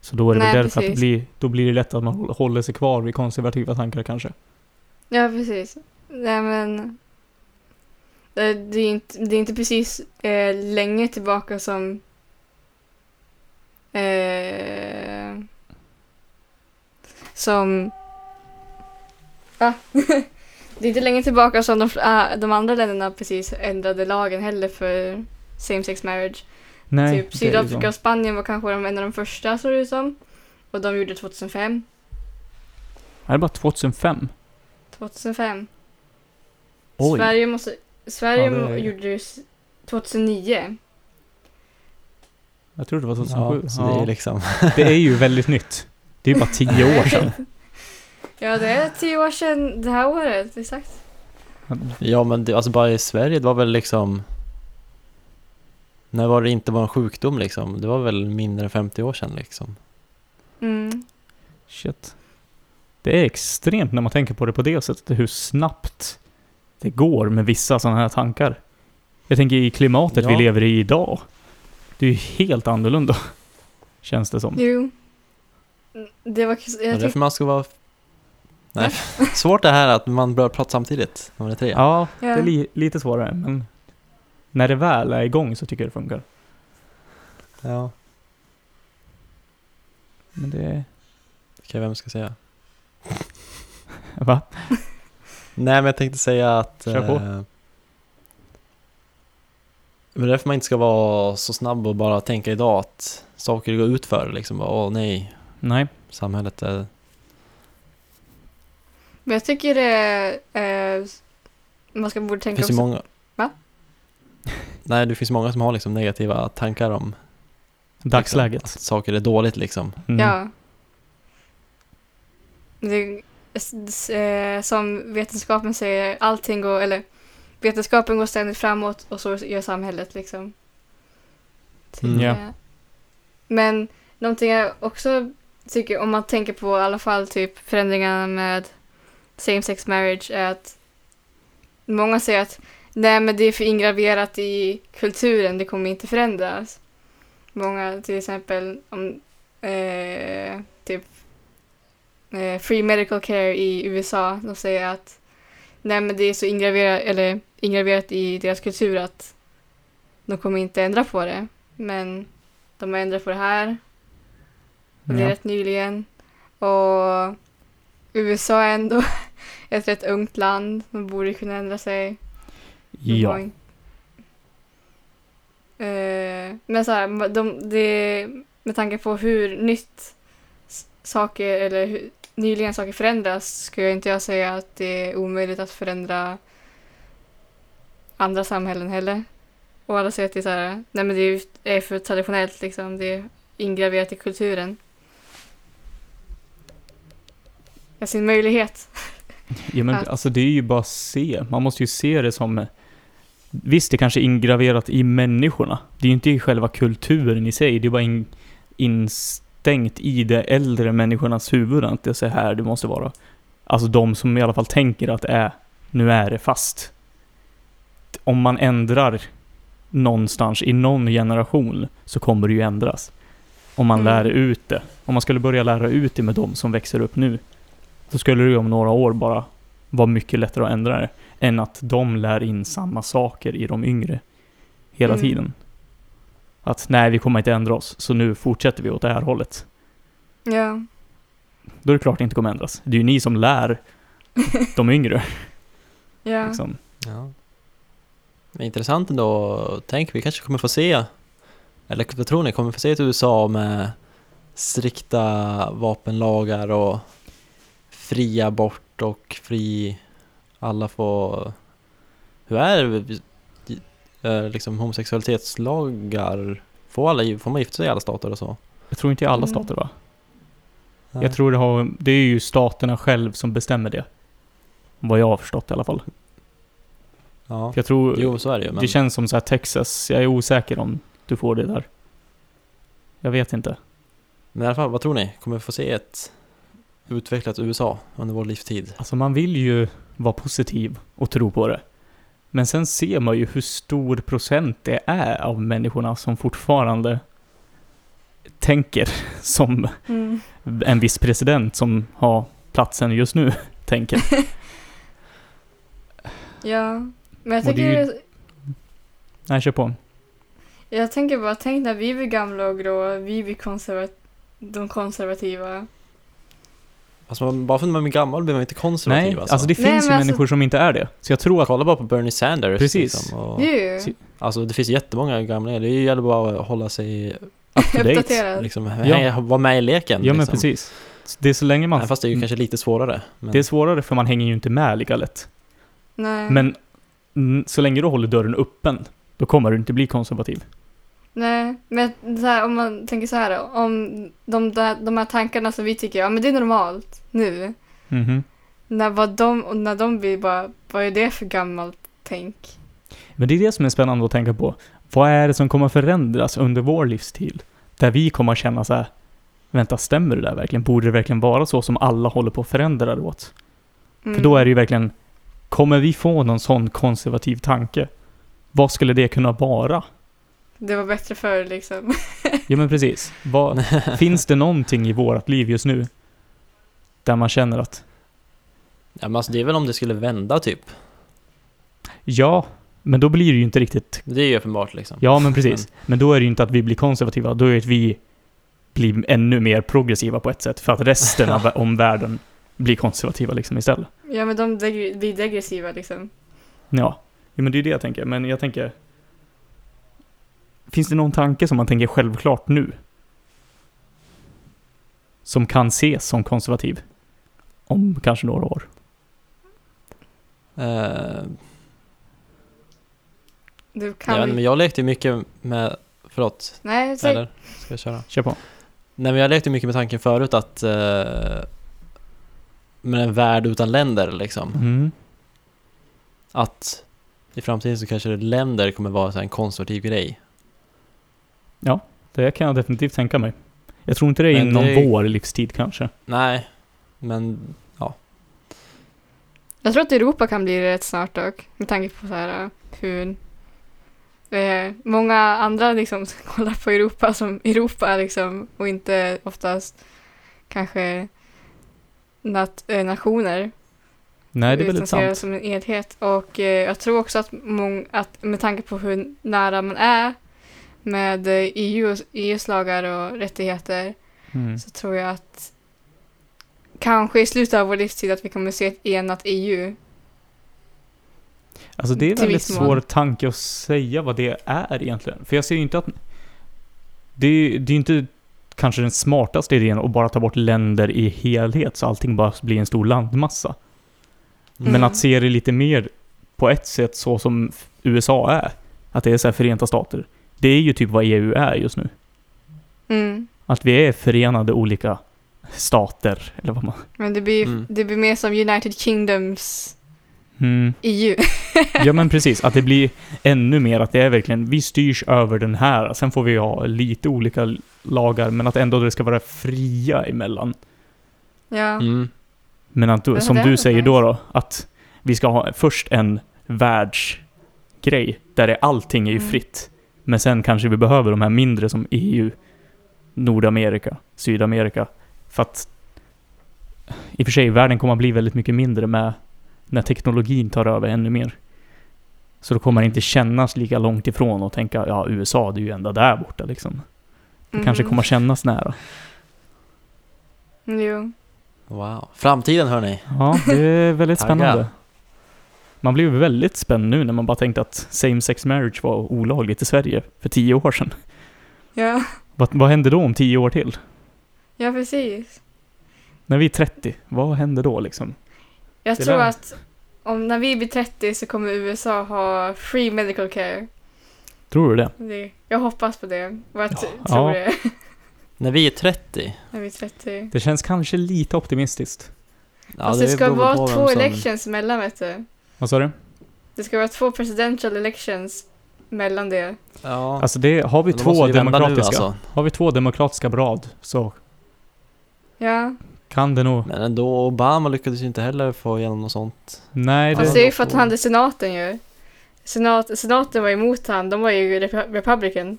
Speaker 3: Så då är det
Speaker 2: Nej,
Speaker 3: väl därför att det
Speaker 2: precis.
Speaker 3: blir, då blir det lätt att man håll- håller sig kvar vid konservativa tankar kanske.
Speaker 2: Ja, precis. Nej, men... Det, det, är, inte, det är inte precis eh, länge tillbaka som... Eh, som... Ah. det är inte länge tillbaka som de, ah, de andra länderna precis ändrade lagen heller för same sex marriage.
Speaker 3: Nej,
Speaker 2: typ
Speaker 3: det är ju så.
Speaker 2: Sydafrika och Spanien var kanske de, en av de första, såg det ut som. Och de gjorde 2005.
Speaker 3: Ja, Det är bara 2005.
Speaker 2: 2005.
Speaker 3: Oj.
Speaker 2: Sverige måste... Sverige
Speaker 3: Ja, det är-
Speaker 2: gjorde det s- 2009.
Speaker 3: Jag tror det var 2007.
Speaker 1: Ja, så det är ju liksom...
Speaker 3: Det är ju väldigt nytt. Det är ju bara tio år sedan.
Speaker 2: Ja, det är tio år sedan det här året, exakt.
Speaker 1: Ja men det, alltså bara i Sverige, det var väl liksom... När var det inte var en sjukdom liksom? Det var väl mindre än 50 år sedan liksom.
Speaker 2: Mm.
Speaker 3: Shit. Det är extremt när man tänker på det på det sättet, hur snabbt det går med vissa sådana här tankar. Jag tänker i klimatet vi
Speaker 1: Ja.
Speaker 3: lever i idag. Det är ju helt annorlunda. Känns det som.
Speaker 2: Jo. Mm, Det var... kus-
Speaker 1: Det
Speaker 2: Jag
Speaker 1: är därför
Speaker 2: tyck,
Speaker 1: man ska vara... Nej, svårt det här att man börjar prata samtidigt när man är tre.
Speaker 3: Ja, det är
Speaker 2: Ja.
Speaker 3: li- lite svårare men när det väl är igång så tycker jag det funkar.
Speaker 1: ja.
Speaker 3: Men det...
Speaker 1: Okej, vem ska säga?
Speaker 3: Va?
Speaker 1: Nej men jag tänkte säga att...
Speaker 3: Kör på.
Speaker 1: Eh, men därför man inte ska vara så snabb och bara tänka idag att saker går ut för liksom. Bara, Åh nej,
Speaker 3: Nej.
Speaker 1: samhället är...
Speaker 2: men jag tycker det... Eh, man ska borde
Speaker 1: Det
Speaker 2: tänka
Speaker 1: finns ju
Speaker 2: också...
Speaker 1: många...
Speaker 2: Va?
Speaker 1: Nej, det finns många som har liksom negativa tankar om
Speaker 3: Dagsläget.
Speaker 1: Liksom, att saker är dåligt liksom.
Speaker 3: Mm.
Speaker 2: Ja. Det, s- s- eh, som vetenskapen säger, allting går... Eller vetenskapen går ständigt framåt och så gör samhället liksom. Typ,
Speaker 1: Mm,
Speaker 3: ja.
Speaker 2: eh, Men någonting jag också tycker, om man tänker på i alla fall typ förändringarna med same sex marriage är att många säger att nej men det är för ingraverat i kulturen, det kommer inte förändras. Många till exempel om eh, typ eh, free medical care i USA, de säger att nej men det är så ingraverat, eller, ingraverat i deras kultur att de kommer inte ändra på det. Men de har ändrat på det här och det är
Speaker 3: Ja.
Speaker 2: rätt nyligen. Och USA är ändå ett rätt ungt land. De borde kunna ändra sig. De har
Speaker 3: ja.
Speaker 2: in- Eh, men så här, de, det, med tanke på hur nytt s- saker, eller hur nyligen saker förändras, skulle jag inte jag säga att det är omöjligt att förändra andra samhällen heller. Och alla säger att det är så här, nej men det är ju- är för traditionellt liksom, det är ingraverat i kulturen. Jag ser en möjlighet.
Speaker 3: Ja, men
Speaker 2: Att-
Speaker 3: alltså det är ju bara att se. Man måste ju se det som... Visst, det kanske är ingraverat i människorna. Det är ju inte i själva kulturen i sig. Det är bara in, instängt i de äldre människornas huvuden att det är så här det måste vara. Alltså de som i alla fall tänker att är, nu är det fast. Om man ändrar någonstans i någon generation så kommer det ju ändras. Om man
Speaker 2: Mm.
Speaker 3: lär ut det. Om man skulle börja lära ut det med de som växer upp nu. Så skulle det ju om några år bara vara mycket lättare att ändra det. Än att de lär in samma saker i de yngre. Hela
Speaker 2: Mm.
Speaker 3: tiden. Att nej, vi kommer inte ändra oss. Så nu fortsätter vi åt det här hållet.
Speaker 2: Ja.
Speaker 3: Då är det klart det inte kommer ändras. Det är ju ni som lär de yngre.
Speaker 2: ja.
Speaker 3: Liksom.
Speaker 1: Ja. Men intressant ändå. Tänk, vi kanske kommer få se, eller vad tror ni, kommer få se ett USA med strikta vapenlagar och fri abort och fri, alla får, hur är det, Eh, liksom homosexualitetslagar? Får, alla, får man gifta sig i alla stater och så?
Speaker 3: Jag tror inte i alla
Speaker 2: Mm.
Speaker 3: stater va?
Speaker 1: Nej.
Speaker 3: Jag tror det har, det är ju staterna själv som bestämmer det. Vad jag har förstått i alla fall.
Speaker 1: Ja.
Speaker 3: Jag tror,
Speaker 1: Jo, så är det ju. Men
Speaker 3: det känns som så här Texas, jag är osäker om du får det där. Jag vet inte.
Speaker 1: Men i alla fall, vad tror ni? Kommer vi få se ett utvecklat USA under vår livstid.
Speaker 3: Alltså man vill ju vara positiv och tro på det. Men sen ser man ju hur stor procent det är av människorna som fortfarande tänker som
Speaker 2: Mm.
Speaker 3: en viss president som har platsen just nu tänker.
Speaker 2: Ja, men jag
Speaker 3: Och det
Speaker 2: tycker,
Speaker 3: är ju- Nej, kör på.
Speaker 2: jag tänker bara, tänk när vi blir gamla och grå, vi blir konserva- de konservativa.
Speaker 1: Fast Alltså, man, bara för att man är gammal blir man inte konservativ
Speaker 3: Nej, alltså det
Speaker 2: Nej,
Speaker 3: finns ju
Speaker 2: men alltså-
Speaker 3: människor som inte är det. Så jag tror att...
Speaker 1: Kolla bara på Bernie Sanders.
Speaker 3: Precis.
Speaker 1: Liksom, och,
Speaker 2: Nu,
Speaker 3: Se-
Speaker 1: alltså det finns jättemånga gamla, det gäller bara att hålla sig,
Speaker 3: date,
Speaker 2: uppdaterad.
Speaker 1: liksom, hänga, vara med i leken.
Speaker 3: Ja, men
Speaker 1: liksom.
Speaker 3: precis. Det är så länge man... Mm.
Speaker 1: Även fast det är ju kanske lite svårare. Men
Speaker 3: Det är svårare för man hänger ju inte med lika lätt.
Speaker 2: Nej.
Speaker 3: Men mm, så länge du håller dörren öppen, då kommer du inte bli konservativ.
Speaker 2: Nej, men så här, om man tänker så här då, om de, där, de här tankarna som vi tycker, ja men det är normalt nu,
Speaker 3: Mhm.
Speaker 2: när, vad de, och när de blir bara, vad är det för gammalt tänk?
Speaker 3: Men det är det som är spännande att tänka på. Vad är det som kommer förändras under vår livstid? Där vi kommer känna så här, vänta, stämmer det där verkligen? Borde det verkligen vara så som alla håller på att förändra det åt?
Speaker 2: Mm.
Speaker 3: För då är det ju verkligen, kommer vi få någon sån konservativ tanke? Vad skulle det kunna vara?
Speaker 2: Det var bättre förr liksom.
Speaker 3: Ja men precis. Vad, finns det någonting i vårt liv just nu där man känner att
Speaker 1: Ja, men alltså, det är väl om det skulle vända typ.
Speaker 3: ja, men då blir det ju inte riktigt,
Speaker 1: Det är ju uppenbart liksom.
Speaker 3: ja men precis. Men då är det ju inte att vi blir konservativa, då är det att vi blir ännu mer progressiva på ett sätt för att resten av omvärlden blir konservativa liksom istället.
Speaker 2: Ja men de deg- blir degressiva liksom.
Speaker 3: Ja, ja men det är ju det jag tänker, men jag tänker Finns det någon tanke som man tänker självklart nu? Som kan ses som konservativ? Om kanske några år.
Speaker 1: Eh,
Speaker 2: Du kan
Speaker 1: jag, vet
Speaker 2: väl-
Speaker 1: inte, men jag lekte ju mycket med, förlåt,
Speaker 2: Nej, säg.
Speaker 1: eller? Ska jag köra?
Speaker 3: Kör på.
Speaker 1: Nej men jag lekte mycket med tanken förut att eh, med en värld utan länder liksom.
Speaker 3: Mm.
Speaker 1: Att i framtiden så kanske länder kommer vara så här en konservativ grej.
Speaker 3: Det kan jag definitivt tänka mig. Jag tror inte det är
Speaker 1: Men
Speaker 3: inom
Speaker 1: det är-
Speaker 3: vår livstid kanske.
Speaker 1: Nej, men
Speaker 2: Jag tror att Europa kan bli det rätt snart dock, med tanke på så här hur eh, många andra liksom kollar på Europa som Europa liksom och inte oftast kanske nat- eh, nationer.
Speaker 3: Nej, det är
Speaker 2: utan
Speaker 3: väldigt
Speaker 2: ser det
Speaker 3: sant.
Speaker 2: som en enhet. Och eh, jag tror också att, mång- att med tanke på hur nära man är med eh, EU, EUs lagar och rättigheter
Speaker 3: Mm.
Speaker 2: så tror jag att kanske i slutet av vår livstid att vi kommer se ett enat E EU.
Speaker 3: Alltså det är en
Speaker 2: till
Speaker 3: väldigt
Speaker 2: viss
Speaker 3: svår
Speaker 2: mån.
Speaker 3: tanke att säga vad det är egentligen. För jag ser ju inte att... Det är ju det är ju inte kanske den smartaste idén att bara ta bort länder i helhet så allting bara blir en stor landmassa.
Speaker 1: Mm.
Speaker 3: Men att se det lite mer på ett sätt så som USA är. Att det är så här Förenta Stater. Det är ju typ vad EU är just nu.
Speaker 2: Mm.
Speaker 3: Att vi är förenade olika stater, eller vad man...
Speaker 2: Men det blir,
Speaker 1: Mm.
Speaker 2: det blir mer som United Kingdoms E
Speaker 3: Mm.
Speaker 2: EU.
Speaker 3: Ja men precis, att det blir ännu mer att det är verkligen, vi styrs över den här, sen får vi ha lite olika lagar, men att ändå det ska vara fria emellan.
Speaker 2: ja.
Speaker 1: mm,
Speaker 3: Men att, du-
Speaker 2: Ja,
Speaker 3: som
Speaker 2: det är
Speaker 3: du
Speaker 2: väl
Speaker 3: säger
Speaker 2: nice.
Speaker 3: då, då, att vi ska ha först en världsgrej, där det, allting är ju
Speaker 2: Mm.
Speaker 3: fritt. Men sen kanske vi behöver de här mindre som EU, Nordamerika, Sydamerika. För att, i och för sig, världen kommer att bli väldigt mycket mindre med när teknologin tar över ännu mer. Så då kommer det inte kännas lika långt ifrån och tänka, ja USA, det är ju ända där borta liksom. Det kanske
Speaker 2: Mhm.
Speaker 3: kommer att kännas nära.
Speaker 2: Jo.
Speaker 1: wow. Framtiden hörni.
Speaker 3: Ja, det är väldigt
Speaker 1: Taggad.
Speaker 3: spännande. Man blev väldigt spänd nu när man bara tänkte att same sex marriage var olagligt i Sverige för tio år sedan.
Speaker 2: Ja.
Speaker 3: Vad, vad händer då om tio år till?
Speaker 2: ja, precis.
Speaker 3: När vi är 30, vad händer då liksom?
Speaker 2: Jag
Speaker 3: Det
Speaker 2: tror
Speaker 3: där.
Speaker 2: att om, när vi blir 30 så kommer USA ha free medical care.
Speaker 3: Tror du det?
Speaker 2: Det, jag hoppas på det. Och jag t-
Speaker 3: Ja.
Speaker 2: tror det
Speaker 1: När vi är 30.
Speaker 2: när vi är 30.
Speaker 3: Det känns kanske lite optimistiskt.
Speaker 1: Ja,
Speaker 2: Fast det, ska
Speaker 1: beror
Speaker 2: vara
Speaker 1: på vem
Speaker 2: två
Speaker 1: som-
Speaker 2: elections mellan, vet du.
Speaker 3: Vad sa du?
Speaker 2: Det ska vara två presidential elections mellan det.
Speaker 1: Ja,
Speaker 3: Alltså det, har vi
Speaker 1: då måste
Speaker 3: två
Speaker 1: vända nu,
Speaker 3: demokratiska,
Speaker 1: alltså.
Speaker 3: har vi två demokratiska brad så
Speaker 2: Ja.
Speaker 3: Kan det nog.
Speaker 1: Men ändå, Obama lyckades ju inte heller få igenom något sånt.
Speaker 3: Nej,
Speaker 2: Fast
Speaker 1: Alltså,
Speaker 2: det är
Speaker 3: det...
Speaker 2: ju för att han hade senaten ju. Senat, senaten var emot han, de var ju repu- republican.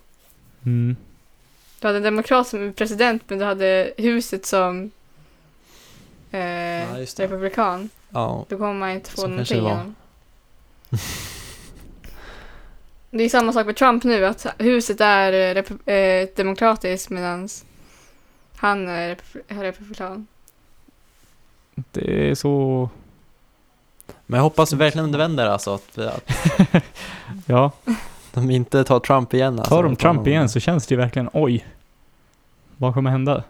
Speaker 3: Mm.
Speaker 2: Du hade en demokrat som president men du hade huset som eh,
Speaker 1: just det.
Speaker 2: republikan.
Speaker 1: Ja,
Speaker 2: Då kommer man inte få
Speaker 1: Så kanske
Speaker 2: någonting
Speaker 1: det var.
Speaker 2: igenom. Det är samma sak med Trump nu, att huset är eh, repu- eh, demokratiskt medan han är repu- republikan.
Speaker 3: det är så...
Speaker 1: men jag hoppas verkligen det vänder alltså. Att, att
Speaker 3: Ja,
Speaker 1: Alltså, de inte tar Trump igen. Alltså.
Speaker 3: tar de
Speaker 1: Utan
Speaker 3: Trump
Speaker 1: de-
Speaker 3: igen så känns det ju verkligen oj. Vad kommer hända?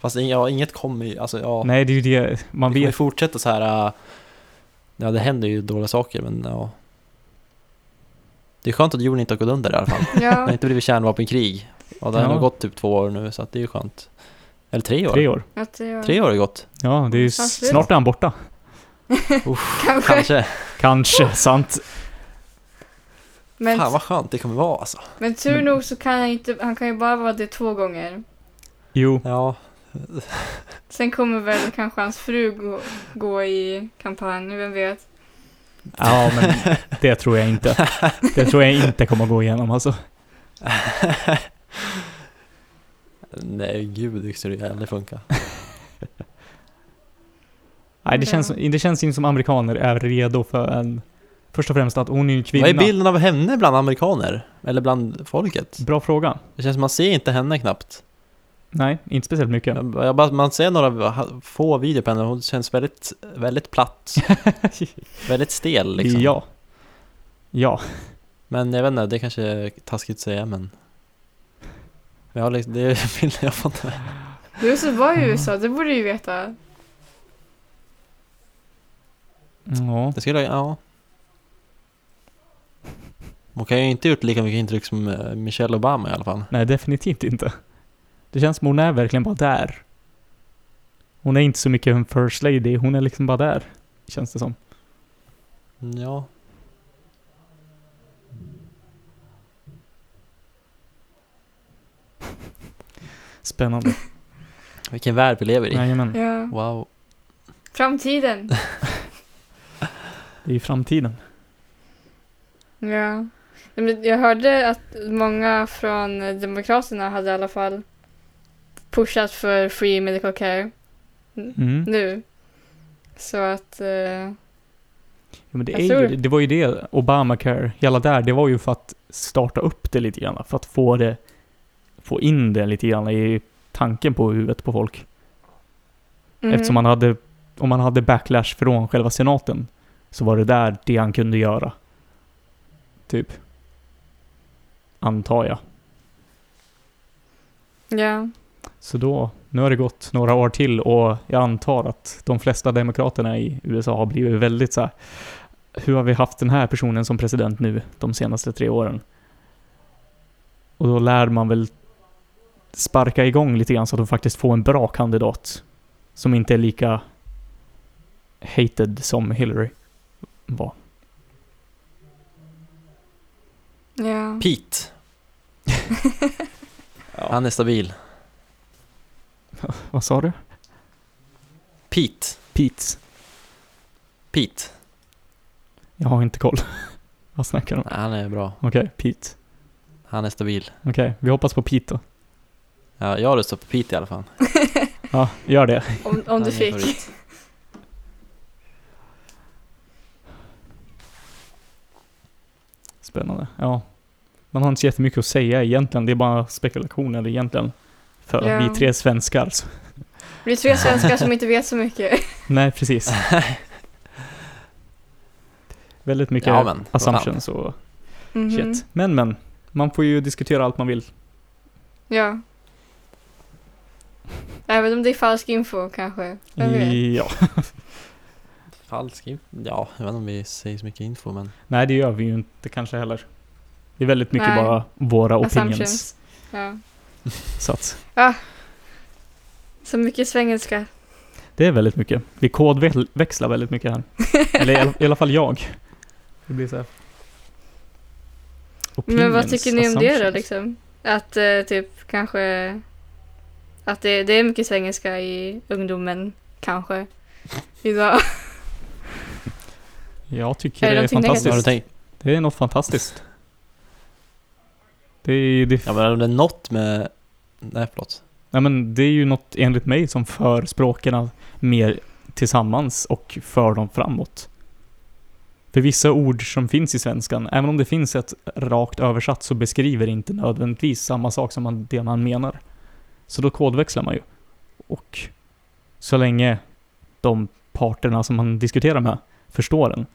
Speaker 1: Fast ja, inget kommer ju, alltså ja.
Speaker 3: Nej, det är ju det man
Speaker 1: Man vill
Speaker 3: vet.
Speaker 1: fortsätta så här. äh, Ja, det händer ju dåliga saker, men ja. Det är skönt att jorden inte har gått under i alla fall. Det har
Speaker 2: Ja,
Speaker 1: inte blivit kärnvapenkrig. Och det har
Speaker 3: Ja.
Speaker 1: ändå gått typ två år nu, så att det är ju skönt. Eller tre år.
Speaker 3: Tre år.
Speaker 2: att det var...
Speaker 1: Tre år har det gått.
Speaker 3: Ja, det är ju
Speaker 2: Snart
Speaker 3: s-
Speaker 2: slut.
Speaker 3: snart är han borta.
Speaker 2: Kanske.
Speaker 1: Kanske.
Speaker 3: Kanske, sant.
Speaker 2: Men,
Speaker 1: Fan vad skönt det kommer vara alltså.
Speaker 2: men tur nog så kan han inte, han kan ju bara vara det två gånger.
Speaker 3: Jo,
Speaker 1: Ja,
Speaker 2: Sen kommer väl kanske hans fru gå, gå i kampanj, vem vet.
Speaker 3: ja men det tror jag inte. Det tror jag inte kommer att gå igenom alltså.
Speaker 1: nej gud det skulle ju aldrig funka.
Speaker 3: Nej, det känns, det känns inte som amerikaner är redo för en... Först och främst att hon är en kvinna.
Speaker 1: Vad är bilden av henne bland amerikaner? Eller bland folket?
Speaker 3: Bra fråga.
Speaker 1: Det känns som man ser inte henne knappt.
Speaker 3: Nej, inte speciellt mycket.
Speaker 1: Jag, jag, bara- man ser några ha- få videor på henne, hon känns väldigt, väldigt platt. väldigt stel liksom.
Speaker 3: Ja. Ja.
Speaker 1: Men jag vet inte, det kanske är taskigt att säga men... Men jag har liksom, det är bilden jag fått.
Speaker 2: Du så var i USA, det borde du ju veta.
Speaker 3: Ja.
Speaker 1: Det skulle jag, ja. Hon kan ju inte gjort lika mycket intryck som eh, Michelle Obama i alla fall.
Speaker 3: Nej, definitivt inte. Det känns som hon är verkligen bara där. Hon är inte så mycket en first lady, hon är liksom bara där. Känns det som.
Speaker 1: Ja.
Speaker 3: Spännande.
Speaker 1: Vilken värld vi lever i.
Speaker 3: Jajamän.
Speaker 2: Ja.
Speaker 1: Wow.
Speaker 2: Framtiden.
Speaker 3: Det är ju framtiden.
Speaker 2: Ja. Nej, men Jag hörde att många från Demokraterna hade i alla fall pushat för free medical care
Speaker 3: Mm.
Speaker 2: nu. Så att, eh,
Speaker 3: Ja, men det,
Speaker 2: Jag
Speaker 3: är
Speaker 2: tror
Speaker 3: ju,
Speaker 2: det.
Speaker 3: det var ju det, Obamacare, hela där, det var ju för att starta upp det lite grann, för att få det, få in det lite grann i tanken på huvudet på folk.
Speaker 2: mhm.
Speaker 3: Eftersom man hade, om man hade backlash från själva senaten, så var det där det han kunde göra. Typ. Antar jag.
Speaker 2: Ja.
Speaker 3: Så då, nu har det gått några år till och jag antar att de flesta demokraterna i USA har blivit väldigt så här. Hur har vi haft den här personen som president nu de senaste tre åren? Och då lär man väl sparka igång lite grann så att de faktiskt får en bra kandidat. Som inte är lika hated som Hillary var.
Speaker 2: Ja.
Speaker 1: Pete. Han är stabil.
Speaker 3: Vad sa du?
Speaker 1: Pete.
Speaker 3: Pete.
Speaker 1: Pete.
Speaker 3: Jag har inte koll. Vad snackar du om?
Speaker 1: Nej, han är bra.
Speaker 3: Okej, Pete.
Speaker 1: Han är stabil.
Speaker 3: Okej, vi hoppas på Pete då.
Speaker 1: Ja, jag röstar på Pete i alla fall.
Speaker 3: Ja, gör det.
Speaker 2: Om, om
Speaker 1: Han är
Speaker 2: du fick.
Speaker 1: favorit.
Speaker 3: Spännande. Ja. Man har inte så jättemycket att säga egentligen. Det är bara spekulationer egentligen. För
Speaker 2: Ja.
Speaker 3: vi tre svenskar. Så.
Speaker 2: Vi är tre svenskar som inte vet så mycket.
Speaker 3: Nej, precis. Väldigt mycket
Speaker 1: Ja, men, vad fan.
Speaker 3: assumptions och
Speaker 2: Mhm.
Speaker 3: shit. Men, men. Man får ju diskutera allt man vill.
Speaker 2: Ja. Även om det är falsk info kanske. Vem vet?
Speaker 3: Ja.
Speaker 1: Falsk in- Ja, jag vet inte om vi säger så mycket info men...
Speaker 3: Nej, det gör vi ju inte kanske heller. Det är väldigt mycket
Speaker 2: Nej.
Speaker 3: bara våra opinions.
Speaker 2: Assumptions. Ja.
Speaker 3: Så att
Speaker 2: Så mycket svengelska.
Speaker 3: det är väldigt mycket. Vi kodväxlar väldigt mycket här. Eller i alla, i alla fall jag. Det blir så här.
Speaker 2: Men vad
Speaker 3: Opinions,
Speaker 2: tycker ni om det då
Speaker 3: assumptions.
Speaker 2: liksom? Att eh, typ kanske Att det, det är mycket svengelska i ungdomen, kanske. Idag.
Speaker 3: Jag tycker
Speaker 2: Är det
Speaker 3: det är
Speaker 2: någonting
Speaker 1: Har du
Speaker 3: fantastiskt.
Speaker 1: tänkt,
Speaker 3: Det är något fantastiskt. Det är, det,
Speaker 1: ja men är det något med, nej förlåt.
Speaker 3: nej, men det är ju något enligt mig som för språken mer tillsammans och för dem framåt. För vissa ord som finns i svenskan, även om det finns ett rakt översatt så beskriver det inte nödvändigtvis samma sak som man, det man menar. Så då kodväxlar man ju. Och så länge de parterna som man diskuterar med förstår den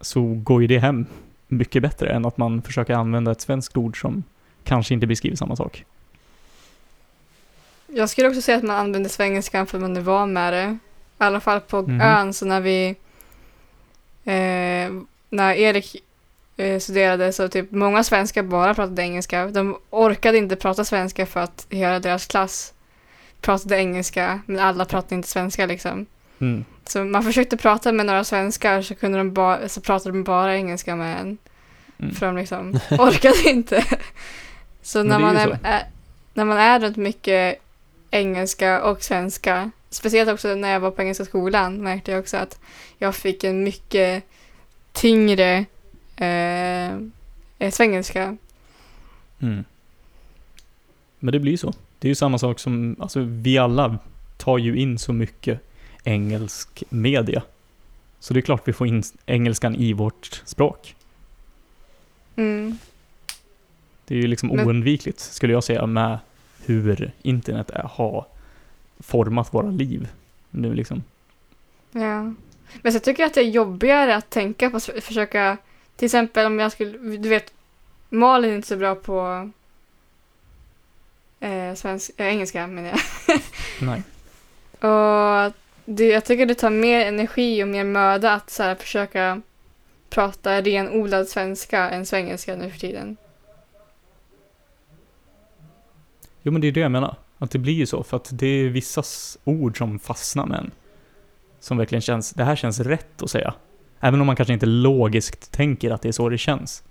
Speaker 3: så går ju det hem mycket bättre än att man försöker använda ett svenskt ord som kanske inte beskriver samma sak.
Speaker 2: Jag skulle också säga att man använder svengelskan för att man är van med det. I alla fall på
Speaker 3: Mhm.
Speaker 2: ön, så när vi... Eh, när Erik eh, studerade så typ många svenskar bara pratade engelska. De orkade inte prata svenska för att hela deras klass pratade engelska, men alla pratade inte svenska liksom.
Speaker 3: Mm.
Speaker 2: Så man försökte prata med några svenskar så, kunde de ba- så pratade de bara engelska med en.
Speaker 3: Mm.
Speaker 2: För de liksom orkade inte. Så
Speaker 3: Men
Speaker 2: när
Speaker 3: det är
Speaker 2: man
Speaker 3: ju
Speaker 2: är,
Speaker 3: så.
Speaker 2: Är, när man är runt mycket engelska och svenska, speciellt också när jag var på engelska skolan märkte jag också att jag fick en mycket tyngre eh, eh, svengelska.
Speaker 3: Mm. Men det blir ju så. Det är ju samma sak som, alltså vi alla tar ju in så mycket engelsk media. Så det är klart vi får in engelskan i vårt språk.
Speaker 2: Mm.
Speaker 3: Det är ju liksom
Speaker 2: Men-
Speaker 3: oundvikligt, skulle jag säga, med hur internet är, har format våra liv nu liksom.
Speaker 2: Ja. Men så tycker jag att det är jobbigare att tänka på, s- försöka, till exempel om jag skulle, du vet, Malin är inte så bra på eh, svensk, eh, engelska menar jag.
Speaker 3: Nej.
Speaker 2: Och det, jag tycker det tar mer energi och mer möda att så här, försöka prata renodlad svenska än svengelska nu för tiden.
Speaker 3: Jo men det är det jag menar. Att det blir ju så, för att det är vissas ord som fastnar med en. Som verkligen känns, det här känns rätt att säga. Även om man kanske inte logiskt tänker att det är så det känns.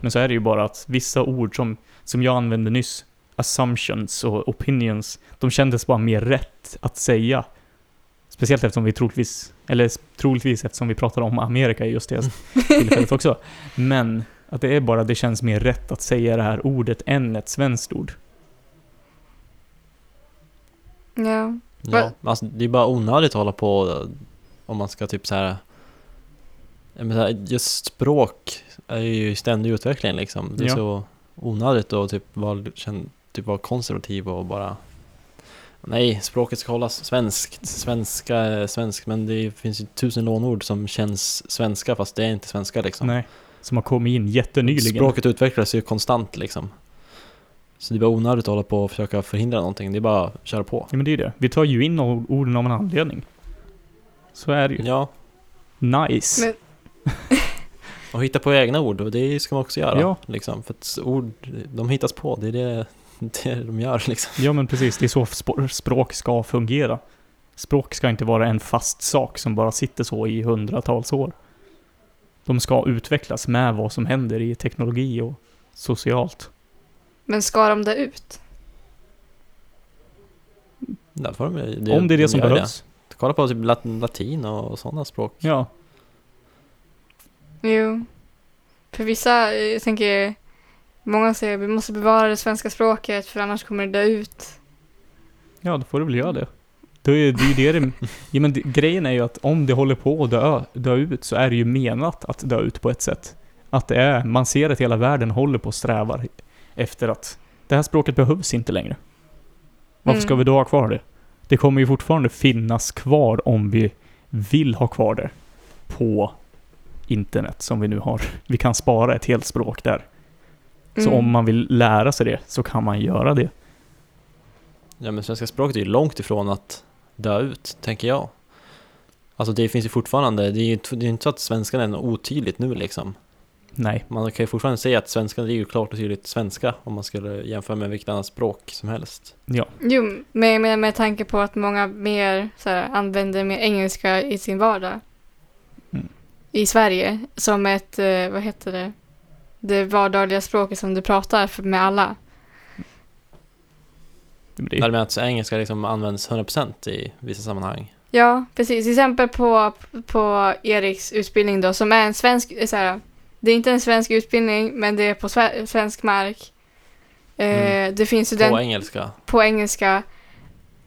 Speaker 3: Men så är det ju bara att vissa ord som, som jag använde nyss, assumptions och opinions, de kändes bara mer rätt att säga. Speciellt eftersom vi troligtvis, eller troligtvis eftersom vi pratar om Amerika i just det tillfället också. Men att det är bara, det känns mer rätt att säga det här ordet än ett svenskt ord.
Speaker 2: Ja.
Speaker 1: Ja,
Speaker 2: Vad-
Speaker 1: men alltså, det är bara onödigt att hålla på eh, om man ska typ så här. Jag menar, just språk är ju i ständig utveckling liksom. Det är
Speaker 3: Ja.
Speaker 1: så onödigt att typ vara, känn- typ vara konservativ och bara Nej, språket ska hållas svenskt. Svenska är svenskt, men det finns ju tusen lånord som känns svenska fast det är inte svenska liksom.
Speaker 3: Nej, som har kommit in jättenyligen.
Speaker 1: Språket utvecklas ju konstant liksom. Så det är bara onödigt att hålla på och försöka förhindra någonting. Det är bara att köra på.
Speaker 3: Ja, men det är ju det. Vi tar ju in or- orden av en anledning. Så är det ju.
Speaker 1: Ja,
Speaker 3: Nice.
Speaker 2: Men-
Speaker 1: Och hitta på egna ord, och det ska man också göra.
Speaker 3: Ja.
Speaker 1: Liksom, för att ord, de hittas på, det är det, det de gör liksom.
Speaker 3: Ja, men precis. Det är så sp- språk ska fungera. Språk ska inte vara en fast sak som bara sitter så i hundratals år. De ska utvecklas med vad som händer i teknologi och socialt.
Speaker 2: Men ska de det ut?
Speaker 1: Därför de,
Speaker 3: Om det är det
Speaker 1: de
Speaker 3: som
Speaker 1: gör
Speaker 3: behövs.
Speaker 1: Kolla på typ lat- latin och sådana språk.
Speaker 3: Ja.
Speaker 2: Jo. För vissa, eh, jag tänker, många säger vi måste bevara det svenska språket för annars kommer det dö ut.
Speaker 3: Ja, då får du väl göra det. Det är det är ju det det... Ja, men det, grejen är ju att om det håller på att dö, dö ut så är det ju menat att dö ut på ett sätt. Att det är, man ser att hela världen håller på och strävar efter att det här språket behövs inte längre. Varför ska
Speaker 2: Mm.
Speaker 3: vi då ha kvar det? Det kommer ju fortfarande finnas kvar om vi vill ha kvar det på internet som vi nu har. Vi kan spara ett helt språk där. Så
Speaker 2: Mm.
Speaker 3: om man vill lära sig det så kan man göra det.
Speaker 1: Ja, men svenska språket är ju långt ifrån att dö ut, tänker jag. Alltså det finns ju fortfarande, det är ju inte- det är inte så att svenskan är något otydligt nu liksom.
Speaker 3: Nej.
Speaker 1: Man kan ju fortfarande säga att svenskan är ju klart och tydligt svenska om man skulle jämföra med vilket annat språk som helst.
Speaker 3: Ja.
Speaker 2: Jo, men jag menar med tanke på att många mer så här, använder mer engelska i sin vardag.
Speaker 3: Mm.
Speaker 2: I Sverige, som ett, eh, vad heter det, det vardagliga språket som du pratar för- med alla.
Speaker 3: Det
Speaker 1: Det här
Speaker 3: blir,
Speaker 1: med att engelska liksom används 100% i vissa sammanhang.
Speaker 2: Ja, precis. Till exempel på, på Eriks utbildning då, som är en svensk, eh, så här, det är inte en svensk utbildning, men det är på sve- svensk mark. Eh,
Speaker 1: Mm.
Speaker 2: Det finns
Speaker 1: På
Speaker 2: studenter på,
Speaker 1: engelska.
Speaker 2: engelska.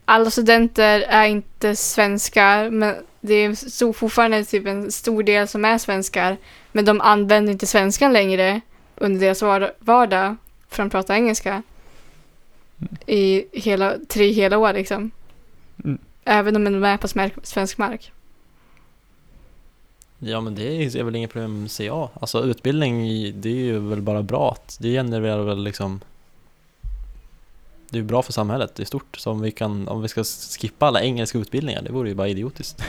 Speaker 2: Alla studenter är inte svenskar, men det är så fortfarande typ en stor del som är svenskar. Men de använder inte svenskan längre under deras var- vardag, för de pratar engelska. I hela, tre hela år liksom.
Speaker 3: Mm.
Speaker 2: Även om de är på smär- svensk mark.
Speaker 1: Ja men det är väl inget problem ser jag. Alltså utbildning, det är ju väl bara bra. att- Det genererar väl liksom Det är ju bra för samhället i stort. Så om vi, kan, om vi ska skippa alla engelska utbildningar, det vore ju bara idiotiskt.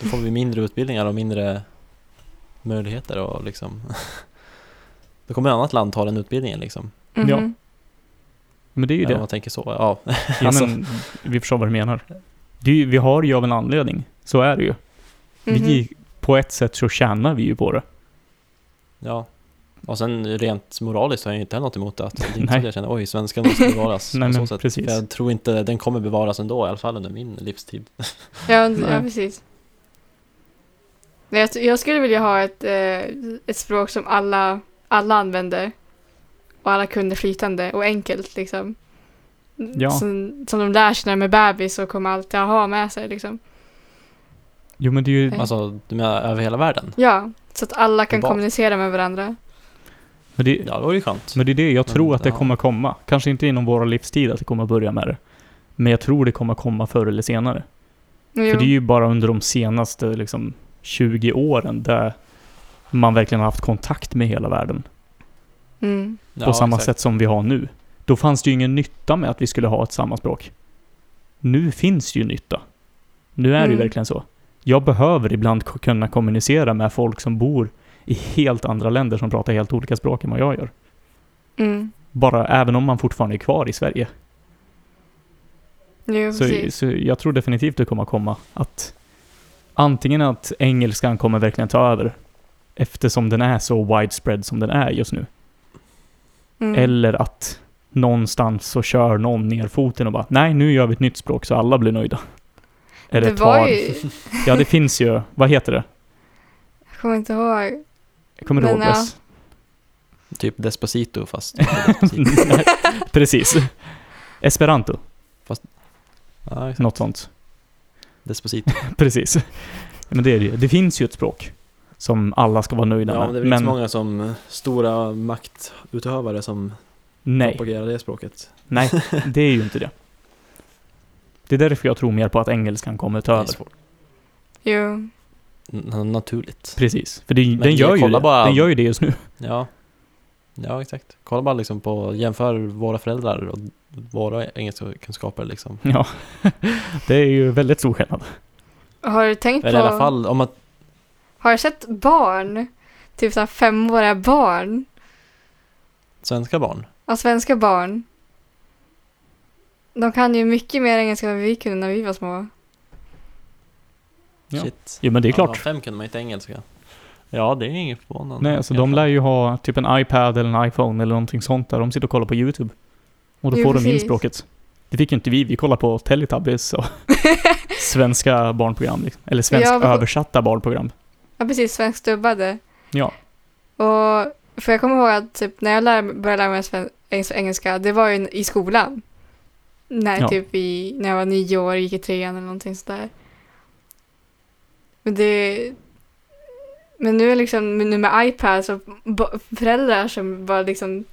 Speaker 1: Då får vi mindre utbildningar och mindre möjligheter och liksom Då kommer ett annat land ta den utbildningen liksom.
Speaker 3: Ja,
Speaker 2: Mhm.
Speaker 3: men det är ju
Speaker 1: Om
Speaker 3: det.
Speaker 1: man tänker så. Ja,
Speaker 3: Ja,
Speaker 1: alltså.
Speaker 3: men, vi förstår vad du menar. Det är, ju- vi har ju av en anledning. Så är det ju.
Speaker 2: Mm-hmm. Mhm.
Speaker 3: Vi, på ett sätt så tjänar vi ju på det.
Speaker 1: Ja. Och sen rent moraliskt har jag ju inte heller något emot det. Att det är inte så
Speaker 3: Nej.
Speaker 1: att jag känner oj, svenskan måste bevaras.
Speaker 3: Nej,
Speaker 1: på
Speaker 3: men
Speaker 1: så sätt.
Speaker 3: precis.
Speaker 1: För Jag tror inte den kommer bevaras ändå, i alla fall under min livstid.
Speaker 2: ja,
Speaker 3: Nej.
Speaker 2: ja, precis. Nej, jag, jag skulle vilja ha ett, eh, ett språk som alla, alla använder och alla kunde flytande och enkelt liksom.
Speaker 3: Ja.
Speaker 2: Som, som de lär sig när de är bebis och kommer alltid ha med sig liksom.
Speaker 3: Jo, men det är ju...
Speaker 2: Ja.
Speaker 1: Alltså, du menar över hela världen?
Speaker 2: Ja, så att alla kan
Speaker 1: Bra.
Speaker 2: kommunicera med varandra.
Speaker 3: Men det,
Speaker 1: Ja, det vore ju skönt.
Speaker 3: Men det är det, jag
Speaker 1: Men
Speaker 3: tror att det
Speaker 1: ja.
Speaker 3: kommer komma. Kanske inte inom våra livstid att vi kommer börja med det. Men jag tror det kommer komma förr eller senare.
Speaker 2: Jo.
Speaker 3: För det är ju bara under de senaste liksom, 20 åren där man verkligen har haft kontakt med hela världen.
Speaker 2: mm.
Speaker 1: Ja,
Speaker 3: på samma
Speaker 1: exakt.
Speaker 3: sätt som vi har nu. Då fanns det ju ingen nytta med att vi skulle ha ett samma språk. Nu finns det ju nytta. Nu är det ju
Speaker 2: Mm.
Speaker 3: verkligen så. Jag behöver ibland k- kunna kommunicera med folk som bor i helt andra länder som pratar helt olika språk än vad jag gör.
Speaker 2: Mm.
Speaker 3: Bara även om man fortfarande är kvar i Sverige.
Speaker 2: Jo,
Speaker 3: Så,
Speaker 2: precis.
Speaker 3: så jag tror definitivt det kommer komma att antingen att engelskan kommer verkligen ta över eftersom den är så widespread som den är just nu.
Speaker 2: Mm.
Speaker 3: Eller att någonstans så kör någon ner foten och bara nej nu gör vi ett nytt språk så alla blir nöjda. Eller
Speaker 2: det var
Speaker 3: tar-
Speaker 2: ju,
Speaker 3: Ja det finns ju, vad heter det?
Speaker 2: jag kommer inte ihåg.
Speaker 3: Jag kommer inte
Speaker 2: Men
Speaker 3: ihåg
Speaker 2: ja.
Speaker 3: dess.
Speaker 1: Typ Despacito fast inte Despacito.
Speaker 3: Nej, Precis. Esperanto,
Speaker 1: ja, exakt.
Speaker 3: något sånt.
Speaker 1: Despacito.
Speaker 3: Precis. Men det är det ju. Det finns ju ett språk som alla ska vara nöjda
Speaker 1: Ja, men det är
Speaker 3: med.
Speaker 1: väl inte så många som eh, stora maktutövare som
Speaker 3: nej.
Speaker 1: propagerar det språket.
Speaker 3: Nej, det är ju inte det. Det är därför jag tror mer på att engelskan kommer ta
Speaker 1: Det är
Speaker 3: över.
Speaker 1: svårt.
Speaker 2: Jo.
Speaker 1: N- Naturligt.
Speaker 3: Precis, för det, den,
Speaker 1: vi
Speaker 3: gör ju
Speaker 1: kollar
Speaker 3: det.
Speaker 1: bara-
Speaker 3: den gör ju det just nu.
Speaker 1: Ja. Ja, exakt. Kolla bara liksom på, jämför våra föräldrar och våra engelskkunskaper liksom.
Speaker 3: Ja. Det är ju väldigt stor skillnad.
Speaker 2: Har du tänkt
Speaker 1: Eller i
Speaker 2: på...
Speaker 1: alla fall om att,
Speaker 2: Har du sett barn? Typ såhär femåriga barn?
Speaker 1: svenska barn.
Speaker 2: Ja, svenska barn. De kan ju mycket mer engelska än vi kunde när vi var små.
Speaker 3: Ja.
Speaker 1: Shit.
Speaker 3: Jo men det är klart.
Speaker 1: fem kunde man inte engelska. Ja, det är inget förvånande.
Speaker 3: Nej, alltså
Speaker 1: I alla
Speaker 3: de
Speaker 1: fall.
Speaker 3: lär ju ha typ en iPad eller en iPhone eller någonting sånt där. De sitter och kollar på YouTube. Och då
Speaker 2: Jo,
Speaker 3: får de in
Speaker 2: precis.
Speaker 3: språket. Det fick ju inte vi. Vi kollar på Teletubbies och svenska barnprogram. Liksom. Eller svensk
Speaker 2: Ja, vi-
Speaker 3: översatta barnprogram.
Speaker 2: Ja, precis. Svenskt dubbade.
Speaker 3: Ja.
Speaker 2: Och för jag kommer ihåg att typ, när jag lär, började lära mig sven- engs- engelska, det var ju i skolan. När,
Speaker 3: Ja.
Speaker 2: typ i, när jag var nio år, gick i trean eller någonting sådär. Men det... Men nu är liksom, nu med iPads och ba- föräldrar som bara liksom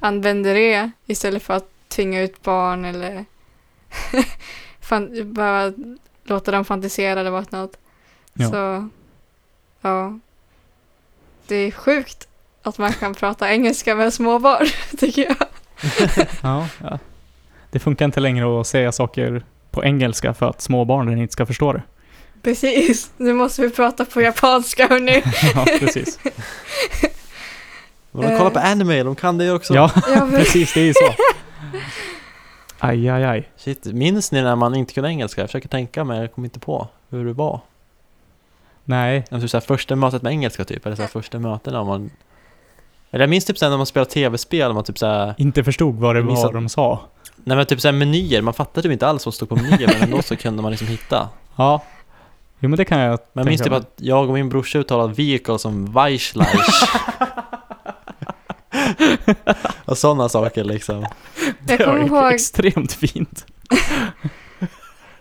Speaker 2: använder det istället för att tvinga ut barn eller fan, bara låta dem fantisera eller vad något.
Speaker 3: Ja.
Speaker 2: Så, ja. Det är sjukt att man kan prata engelska med småbarn, tycker jag.
Speaker 3: Ja, ja. Det funkar inte längre att säga saker på engelska för att småbarnen inte ska förstå det.
Speaker 2: Precis, nu måste vi prata på japanska hörni.
Speaker 3: Ja, precis.
Speaker 1: Men de kollar på anime, de kan det också.
Speaker 3: Ja,
Speaker 2: Ja, men-
Speaker 3: precis. Det är ju så. Aj, aj, aj.
Speaker 1: Shit, minns ni när man inte kunde engelska? Jag försöker tänka men jag kommer inte på hur det var.
Speaker 3: Nej.
Speaker 1: Alltså, så här, första mötet med engelska typ, eller så här, första möten när man... Eller jag minns typ sen när man spelar tv-spel, man typ så här,
Speaker 3: Inte förstod vad det
Speaker 1: Jag minns
Speaker 3: var
Speaker 1: att-
Speaker 3: de sa.
Speaker 1: Nej men typ såhär menyer, man fattade typ inte alls vad som stod på menyer men ändå så kunde man liksom hitta.
Speaker 3: Ja. Jo men det kan jag
Speaker 1: Men jag minns typ
Speaker 3: tänka mig.
Speaker 1: att jag och min brorsa uttalade vehicle som Weichleich. och sådana saker liksom.
Speaker 2: Jag
Speaker 3: Det var
Speaker 2: kommer
Speaker 3: ju
Speaker 2: ihåg-
Speaker 3: extremt fint.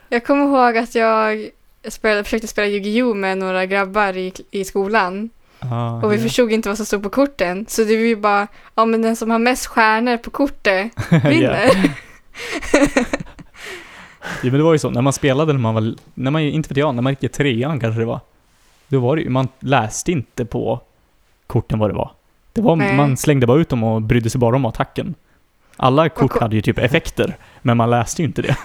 Speaker 2: Jag kommer ihåg att jag spelade, försökte spela Yu-Gi-Oh med några grabbar i, i skolan.
Speaker 3: Ah,
Speaker 2: Och vi
Speaker 3: ja.
Speaker 2: förstod inte vad som stod på korten. Så det var ju bara, ja men den som har mest stjärnor på kortet vinner.
Speaker 3: Ja, men det var ju så, när man spelade när man var, när man, inte vet jag, när man gick i trean kanske det var. Då var det ju, man läste inte på korten vad det var. Det var
Speaker 2: Nej.
Speaker 3: man slängde bara ut dem och brydde sig bara om attacken. Alla kort
Speaker 2: ko-
Speaker 3: hade ju typ effekter, men man läste ju inte det.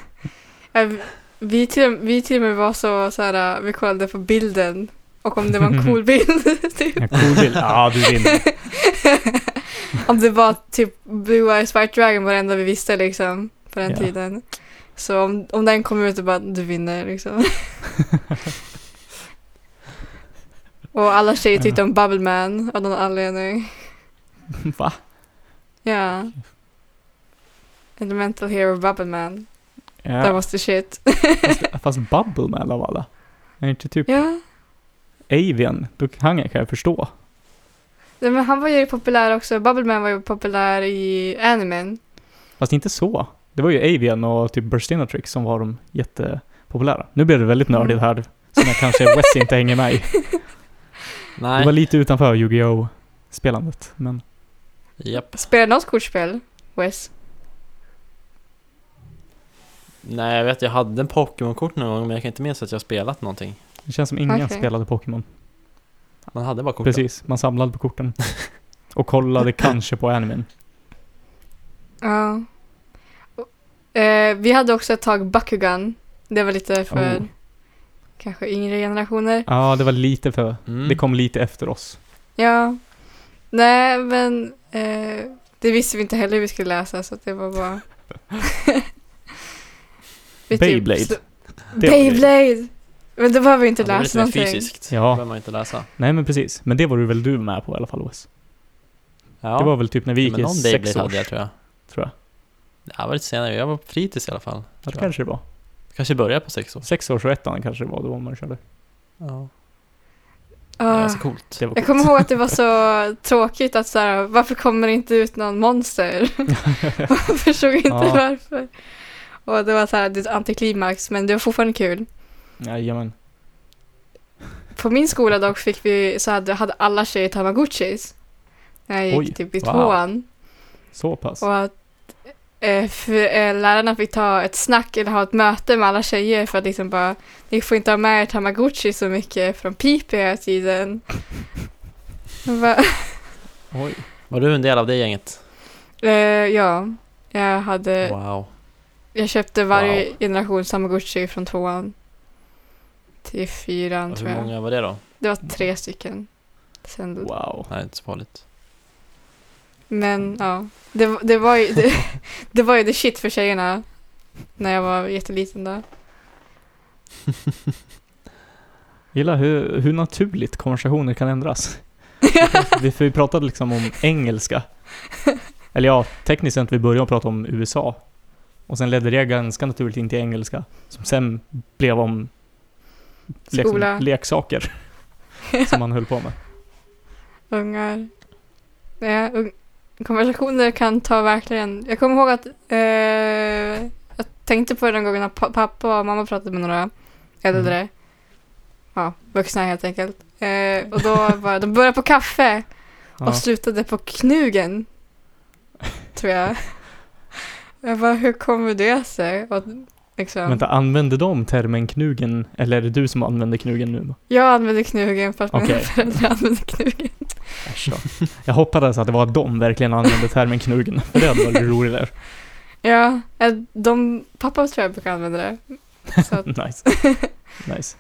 Speaker 2: Ja, vi- Vi till, vi till och med var så, så här, vi kollade på bilden och om det var en cool bild. typ.
Speaker 3: Ja, cool bild. Ja, du vinner.
Speaker 2: Om det var typ Blue Eyes White Dragon var det enda vi visste liksom på den
Speaker 3: Ja.
Speaker 2: tiden. Så om, om den kom ut och bara du vinner liksom. och alla tjejer tyckte om Bubble Man av någon anledning.
Speaker 3: Va?
Speaker 2: Ja. Elemental Hero Bubble Man. That
Speaker 3: Ja,
Speaker 2: was the shit.
Speaker 3: fast Bubble Man av alla. Är inte typ
Speaker 2: ja.
Speaker 3: Avian? Då kan jag, kan jag förstå.
Speaker 2: Nej, Men han var ju populär också. Bubble Man var ju populär i animen.
Speaker 3: Fast inte så. Det var ju Avian och typ Burstinatrix som var de jättepopulära. Nu blir det väldigt nördigt
Speaker 1: Mm.
Speaker 3: här, som jag kanske Wes inte hänger med i. Det var
Speaker 1: Nej,
Speaker 3: lite utanför Yu-Gi-Oh! spelandet, men
Speaker 1: japp.
Speaker 2: Spelade något kortspel, Wes?
Speaker 1: Nej jag vet, jag hade en Pokémon-kort någon gång men jag kan inte minnas att jag spelat någonting.
Speaker 3: det känns som ingen
Speaker 2: Okej.
Speaker 3: spelade Pokémon.
Speaker 1: Man hade bara korten.
Speaker 3: Precis, man samlade på korten. Och kollade kanske på animen.
Speaker 2: Ja. Och, eh, vi hade också ett tag Bakugan. Det var lite för
Speaker 3: Oh.
Speaker 2: kanske yngre generationer.
Speaker 3: Ja, det var lite för...
Speaker 1: Mm.
Speaker 3: Det kom lite efter oss.
Speaker 2: Ja. Nej, men eh, det visste vi inte heller hur vi skulle läsa så att det var bara... Vi typ
Speaker 3: Beyblade.
Speaker 2: slå-
Speaker 3: Det var
Speaker 2: Beyblade! Men då behöver vi inte
Speaker 1: Ja, det var lite
Speaker 2: läsa
Speaker 1: mer
Speaker 2: någonting.
Speaker 1: fysiskt.
Speaker 3: Ja.
Speaker 1: Ja. Det behöver man inte läsa.
Speaker 3: Nej men precis, men det var du väl du med på i alla fall Wes?
Speaker 1: Ja.
Speaker 3: Det var väl typ när vi gick
Speaker 1: men
Speaker 3: i
Speaker 1: någon Beyblade
Speaker 3: sex år,
Speaker 1: hade jag tror jag.
Speaker 3: tror jag.
Speaker 1: Ja, det var lite senare. Jag var på fritids i alla fall.
Speaker 3: Ja, det
Speaker 1: tror jag.
Speaker 3: kanske det var.
Speaker 1: Kanske började på sex år.
Speaker 3: Sex års och ettan kanske det var, det var man körde.
Speaker 1: Ja. Det var
Speaker 2: Ja.
Speaker 1: ganska coolt.
Speaker 3: Det var
Speaker 2: Jag kommer ihåg att det var så tråkigt att så här, varför kommer det inte ut någon monster? Jag förstod inte
Speaker 3: Ja.
Speaker 2: varför. Och det var så här, det är ett antiklimax, men det var fortfarande kul.
Speaker 3: Jajamän.
Speaker 2: På min skola dock fick vi, så hade, hade alla tjejer tamagotchis. När jag gick
Speaker 3: Oj,
Speaker 2: typ i
Speaker 1: wow.
Speaker 2: tvåan.
Speaker 3: Så pass.
Speaker 2: Och att eh, för, eh, lärarna fick ta ett snack eller ha ett möte med alla tjejer för att liksom bara, ni får inte ha med er tamagotchi så mycket från Pipi hela tiden. Jag bara,
Speaker 3: Oj.
Speaker 1: Var du en del av det gänget?
Speaker 2: Eh, ja, jag hade...
Speaker 1: Wow.
Speaker 2: Jag köpte varje
Speaker 1: Wow.
Speaker 2: generation Tamagotchi från tvåan till fyran
Speaker 1: Och Alltså,
Speaker 2: tror
Speaker 1: hur
Speaker 2: jag.
Speaker 1: många var det då?
Speaker 2: Det var tre stycken. Sen,
Speaker 3: Wow.
Speaker 1: Nej, inte så farligt.
Speaker 2: Men ja, det, var- det, var ju, det, det var ju the shit för tjejerna när jag var jätteliten då.
Speaker 3: Gillar hur, hur naturligt konversationer kan ändras. vi, för vi pratade liksom om engelska. Eller ja, tekniskt sett vi började prata om USA. Och sen ledde det ganska naturligt in till engelska. Som sen blev om
Speaker 1: Liksom
Speaker 2: Skola.
Speaker 3: leksaker. som man höll på med.
Speaker 2: Ungar. Ja, un, konversationer kan ta verkligen... Jag kommer ihåg att eh, jag tänkte på det den gången när pa- pappa och mamma pratade med några äldre.
Speaker 3: Mm.
Speaker 2: Ja, vuxna helt enkelt. Eh, och då var de började på kaffe.
Speaker 3: Ja.
Speaker 2: och slutade på knugen. Tror jag. Jag bara, hur kommer det sig? Och, liksom,
Speaker 3: Vänta, använde de termen knugen? Eller är det du som använder knugen nu?
Speaker 2: Jag använde knugen för att mina
Speaker 3: Okej.
Speaker 2: föräldrar använde knugen.
Speaker 3: Äsch då. Jag hoppades att det var de verkligen använde termen knugen. För det hade varit roligare.
Speaker 2: Ja, eh, de, pappa tror jag brukar använda det. Så att,
Speaker 3: Nice. Nice.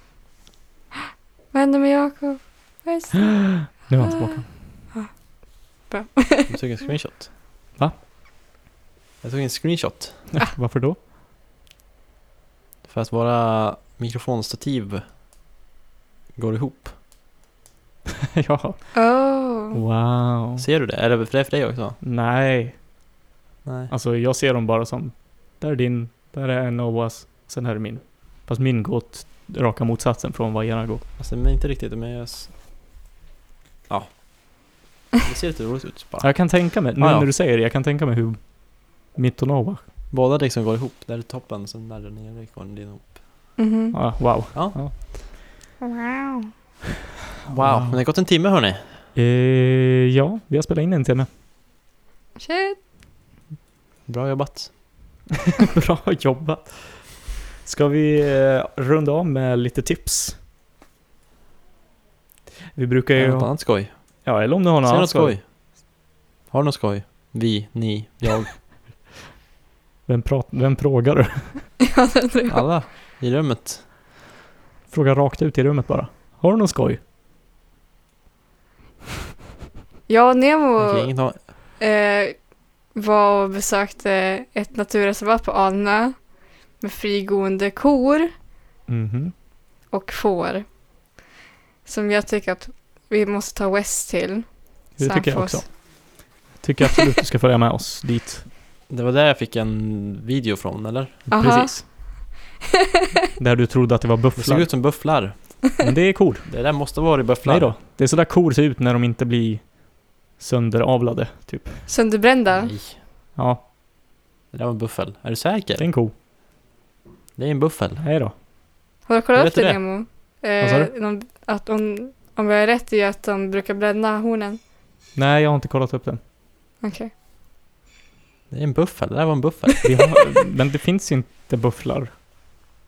Speaker 2: vad hände med Jakob? Vad är det-
Speaker 3: Nu är han tillbaka.
Speaker 1: Du tog en screenshot.
Speaker 3: Va?
Speaker 1: Jag tog en screenshot.
Speaker 3: Varför då?
Speaker 1: För att våra mikrofonstativ går ihop.
Speaker 3: ja.
Speaker 1: Mm.
Speaker 2: Oh.
Speaker 3: Wow.
Speaker 1: Ser du det? Är det för det för dig också?
Speaker 3: Nej,
Speaker 1: Nej.
Speaker 3: alltså jag ser dem bara som Där är din, där är Noahs, sen här är min. Fast min går åt raka motsatsen från vad ena går.
Speaker 1: Alltså men inte riktigt, men jag... s- Ja. Det ser lite roligt ut bara.
Speaker 3: Jag kan tänka mig, nu
Speaker 1: Ah, ja.
Speaker 3: när du säger det, jag kan tänka mig hur mitt och Noah,
Speaker 1: Båda liksom går ihop, där är toppen, sen där den nere går den ihop. Mm.
Speaker 2: Mhm.
Speaker 3: ah, wow.
Speaker 2: Wow.
Speaker 1: Wow, men det har gått en timme hörni.
Speaker 3: Eh, ja, vi har spelat in en timme.
Speaker 2: Shit.
Speaker 1: Bra jobbat.
Speaker 3: Bra jobbat. Ska vi eh, runda av med lite tips? Vi brukar
Speaker 1: Har
Speaker 3: ju...
Speaker 1: du något annat skoj?
Speaker 3: Ja, eller om du har något
Speaker 1: Säg
Speaker 3: annat
Speaker 1: något
Speaker 3: skoj.
Speaker 1: skoj. Har du något skoj? Vi, ni, jag,
Speaker 3: Vem, prat, vem frågar du?
Speaker 2: Ja, det tror jag.
Speaker 1: alla i rummet.
Speaker 3: Fråga rakt ut i rummet bara. Har du något skoj?
Speaker 2: Jag och Nemo
Speaker 1: Okej, ingen har...
Speaker 2: eh, var och besökte ett naturreservat på Alnö med frigående kor
Speaker 3: Mhm.
Speaker 2: och får. Som jag tycker att vi måste ta West till.
Speaker 3: Det
Speaker 2: Sen
Speaker 3: tycker jag
Speaker 2: får
Speaker 3: också.
Speaker 2: oss-
Speaker 3: Tycker absolut du ska följa med oss dit.
Speaker 1: Det var där jag fick en video från, eller?
Speaker 2: Aha.
Speaker 3: Precis. Där du trodde att det var
Speaker 1: Det såg
Speaker 3: bufflar.
Speaker 1: ut som bufflar.
Speaker 3: Men det är kor.
Speaker 1: Det där måste vara i bufflar.
Speaker 3: Nej då. Det är sådär kor ser ut när de inte blir sönderavlade, typ.
Speaker 2: Sönderbrända.
Speaker 3: Mm.
Speaker 1: Nej,
Speaker 3: Ja,
Speaker 1: det där var en buffel. Är du
Speaker 3: det är
Speaker 1: säker?
Speaker 3: en ko.
Speaker 1: Det är en buffel.
Speaker 3: Nej då.
Speaker 2: Har du kollat
Speaker 1: Hur
Speaker 2: upp
Speaker 1: vet du
Speaker 2: det
Speaker 1: det?
Speaker 2: Nemo? Eh,
Speaker 3: Vad sa du?
Speaker 2: de, att om, om jag är rätt i att de brukar bränna hornen.
Speaker 3: Nej, jag har inte kollat upp den.
Speaker 2: Okej.
Speaker 1: Det är en buffel. Det där var en buffel.
Speaker 3: Vi har, men det finns inte bufflar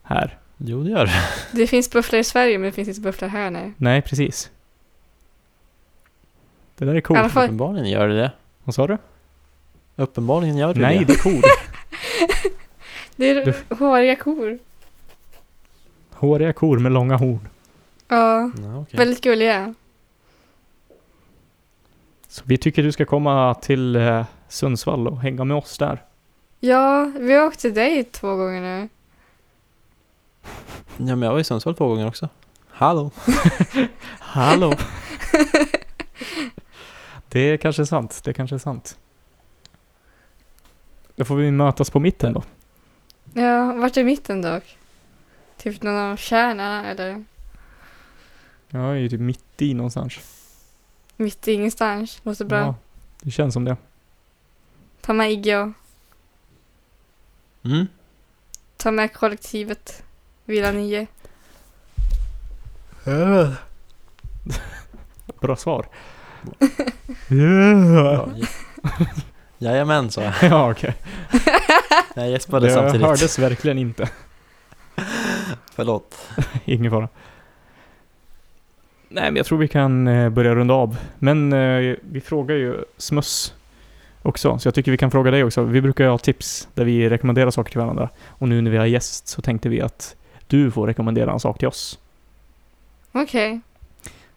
Speaker 3: här.
Speaker 1: Jo, det gör det.
Speaker 2: Det finns bufflar i Sverige men det finns inte bufflar här nej.
Speaker 3: Nej, precis. Det där är kor.
Speaker 2: I alla fall-
Speaker 1: Uppenbarligen gör det det.
Speaker 3: Vad sa du?
Speaker 1: Uppenbarligen gör det
Speaker 3: Nej,
Speaker 1: det.
Speaker 3: det är kor.
Speaker 2: Det är
Speaker 3: Du-
Speaker 2: håriga kor.
Speaker 3: Håriga kor med långa horn.
Speaker 2: Ja,
Speaker 1: Nej, okej.
Speaker 2: väldigt gulliga.
Speaker 3: Så vi tycker du ska komma till eh, Sundsvall och hänga med oss där.
Speaker 2: Ja, vi har åkt till dig två gånger nu.
Speaker 1: Ja, men jag var i Sundsvall två gånger också. Hallå!
Speaker 3: Hallå! det är kanske är sant, det kanske är sant. Då får vi mötas på mitten då.
Speaker 2: Ja, vart är mitten dock? Typ någon av kärnorna eller
Speaker 3: Jag är ju typ mitt i någonstans.
Speaker 2: mitt i ingenstans. Låter bra.
Speaker 3: Ja, det känns som det.
Speaker 2: Ta med Iggy
Speaker 1: Mm.
Speaker 2: ta med kollektivet. Villa 9.
Speaker 3: Bra svar.
Speaker 1: Ja,
Speaker 3: yeah.
Speaker 1: j- Jajamän, sa jag.
Speaker 3: ja, okej.
Speaker 1: Jag gäspade
Speaker 3: Det
Speaker 1: samtidigt.
Speaker 3: hördes verkligen inte.
Speaker 1: Förlåt.
Speaker 3: Ingen fara. Nej, men jag tror vi kan eh, börja runda av. Men eh, vi frågar ju Smuss också, så jag tycker vi kan fråga dig också. Vi brukar ju ha tips där vi rekommenderar saker till varandra. Och nu när vi har gäst så tänkte vi att du får rekommendera en sak till oss.
Speaker 2: Okej.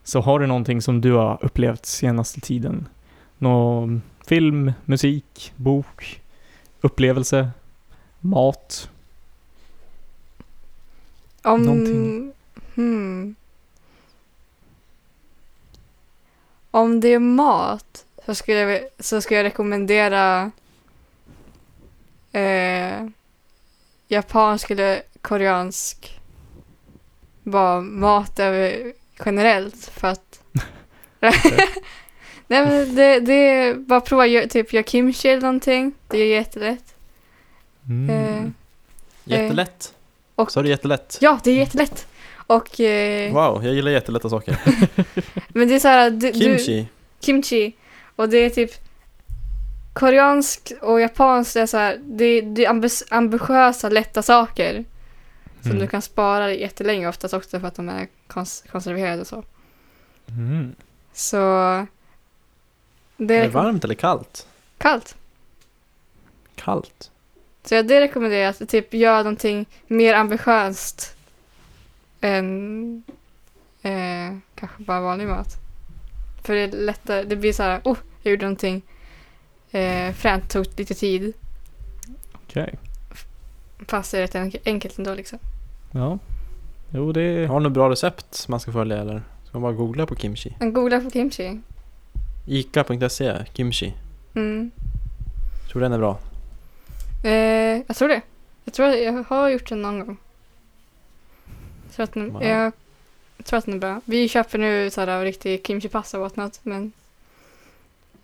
Speaker 3: Så har du någonting som du har upplevt senaste tiden? Någon film, musik, bok, upplevelse, mat?
Speaker 2: Om...
Speaker 3: Någonting.
Speaker 2: Hmm. Om det är mat så skulle jag, väl- så skulle jag rekommendera eh, japansk eller koreansk bara mat över, generellt för att Nej men det, det är bara prova gör- typ gör kimchi eller någonting. Det är jättelätt.
Speaker 3: Mm.
Speaker 2: Eh,
Speaker 1: Jättelätt.
Speaker 2: och-
Speaker 1: Sa du jättelätt?
Speaker 2: ja, det är jättelätt. Och eh,
Speaker 1: Wow, jag gillar jättelätta saker.
Speaker 2: men det är så här du, du,
Speaker 1: Kimchi.
Speaker 2: kimchi. Och det är typ koreansk och japansk det är så här, det, det är ambis, ambitiösa lätta saker som
Speaker 3: Mm.
Speaker 2: du kan spara jättelänge oftast också för att de är kons- konserverade och så.
Speaker 3: Mm.
Speaker 2: Så det
Speaker 1: Är
Speaker 2: är liksom
Speaker 1: det varmt eller kallt?
Speaker 2: kallt.
Speaker 1: Kallt.
Speaker 2: Så jag det rekommenderar att typ göra någonting mer ambitiöst än eh, kanske bara vanlig mat. För det är lättare, det blir så här, oh, jag gjorde någonting eh, fränt, tog lite tid.
Speaker 3: Okej.
Speaker 2: Fast det är rätt enk- enkelt ändå liksom.
Speaker 3: Ja. Jo, det...
Speaker 1: Har du något bra recept man ska följa eller? Ska man bara googla på kimchi?
Speaker 2: Men googla på kimchi.
Speaker 1: Ica.se, kimchi.
Speaker 2: Mm.
Speaker 1: Tror den är bra.
Speaker 2: Eh, jag tror det. Jag tror att jag har gjort den någon gång. Jag tror att den,
Speaker 1: Wow.
Speaker 2: jag, tror att den är bra. Vi köper nu så här riktig kimchi-pasta och whatnot, men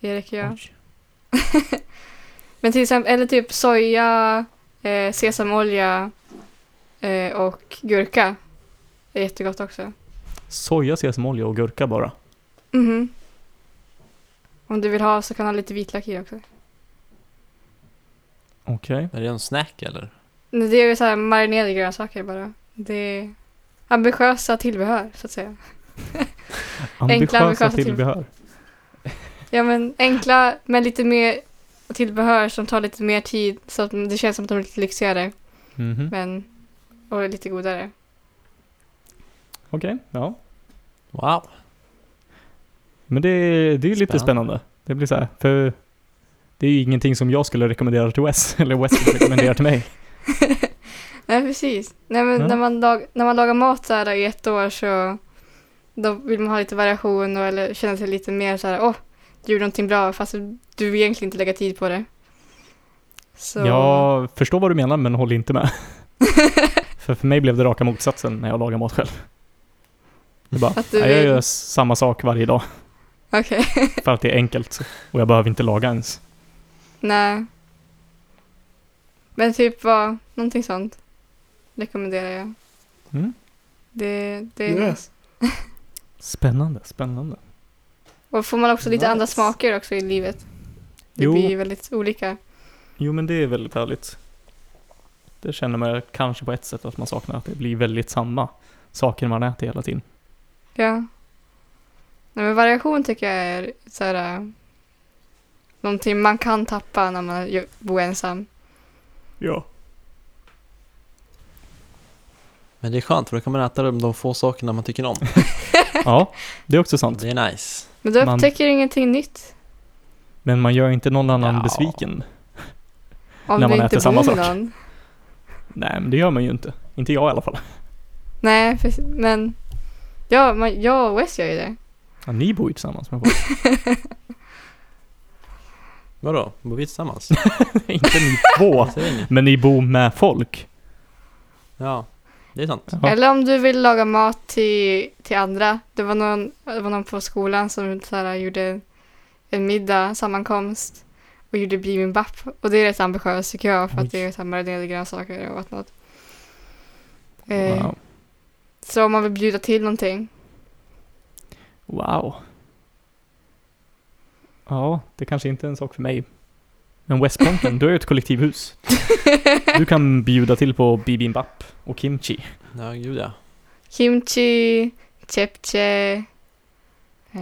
Speaker 2: Erik gör.
Speaker 1: Oj.
Speaker 2: Men till exempel, eller typ soja, eh, sesamolja eh, och gurka. är jättegott också.
Speaker 3: Soja, sesamolja och gurka bara.
Speaker 2: Mhm. Om du vill ha så kan du ha lite vitlök i också.
Speaker 3: Okej.
Speaker 1: Är det en snack eller?
Speaker 2: Men Det är ju så här marinerade grönsaker bara. Det är ambitiösa tillbehör så att säga.
Speaker 3: Ambitiösa
Speaker 2: amerikanska
Speaker 3: tillbehör.
Speaker 2: Ja men enkla men lite mer tillbehör som tar lite mer tid så att det känns som att de är lite lyxigare
Speaker 3: Mhm.
Speaker 2: men och lite godare.
Speaker 3: Okej, ja.
Speaker 1: Wow.
Speaker 3: Men det, det är ju lite
Speaker 1: Spännande.
Speaker 3: spännande. Det blir så här, för det är ju ingenting som jag skulle rekommendera till Wes, eller Wes skulle rekommendera till mig.
Speaker 2: Nej precis. Nej men
Speaker 3: Ja.
Speaker 2: när, man lag, när man lagar mat så här i ett år så då vill man ha lite variation och eller känna sig lite mer så här åh, du gjorde någonting bra fast du vill egentligen inte lägga tid på det. Så,
Speaker 3: Jag förstår vad du menar, men håller inte med. för för mig blev det raka motsatsen när jag lagar mat själv. Det är bara,
Speaker 2: Att du
Speaker 3: nej, jag
Speaker 2: vill-
Speaker 3: gör samma sak varje dag,
Speaker 2: Okej.
Speaker 3: för att det är enkelt. Och jag behöver inte laga ens.
Speaker 2: Nej. Men typ vad, någonting sånt rekommenderar jag.
Speaker 3: Mm.
Speaker 2: Det, det är
Speaker 1: Yeah.
Speaker 2: nice.
Speaker 3: Spännande, spännande.
Speaker 2: Och får man också lite
Speaker 1: Nice.
Speaker 2: andra smaker också i livet. Det
Speaker 3: Jo.
Speaker 2: blir ju väldigt olika.
Speaker 3: Jo, men det är väldigt härligt. Det känner man kanske på ett sätt att man saknar, att det blir väldigt samma saker man äter hela tiden.
Speaker 2: Ja. Nej, men variation tycker jag är så här, äh, någonting man kan tappa när man ju- bor ensam.
Speaker 3: Ja.
Speaker 1: Men det är skönt för då kan man äta de de få sakerna man tycker om.
Speaker 3: Ja, det är också sant.
Speaker 1: Det är nice.
Speaker 2: Men du
Speaker 3: Man-
Speaker 2: upptäcker ingenting nytt.
Speaker 3: Men man gör inte någon annan
Speaker 1: Ja.
Speaker 3: besviken.
Speaker 2: Om
Speaker 3: När
Speaker 2: du
Speaker 3: man
Speaker 2: inte
Speaker 3: äter samma
Speaker 2: bor med
Speaker 3: sak.
Speaker 2: någon.
Speaker 3: Nej, men det gör man ju inte. Inte jag i alla fall.
Speaker 2: Nej, precis. men ja, man, jag och Wes gör ju det.
Speaker 3: Ja, ni bor ju tillsammans med folk.
Speaker 1: Vadå? Bor vi tillsammans?
Speaker 3: inte ni två,
Speaker 1: Jag säger inget.
Speaker 3: men ni bor med folk.
Speaker 1: Ja, det är sant.
Speaker 3: Ja.
Speaker 2: Eller om du vill laga mat till, till andra. Det var, någon, det var någon på skolan som så här, äh, gjorde en middag, sammankomst och gjorde bibimbap. Och det är rätt ambitiöst tycker jag för
Speaker 3: Oj.
Speaker 2: att det är så här marinerade grönsaker och whatnot. Eh,
Speaker 3: Wow.
Speaker 2: så om man vill bjuda till någonting.
Speaker 3: wow. Ja, det kanske inte är en sak för mig. Men Westponken, du är ju ett kollektivhus. Du kan bjuda till på bibimbap och kimchi.
Speaker 1: Ja, gud ja.
Speaker 2: Kimchi, chepche. Eh,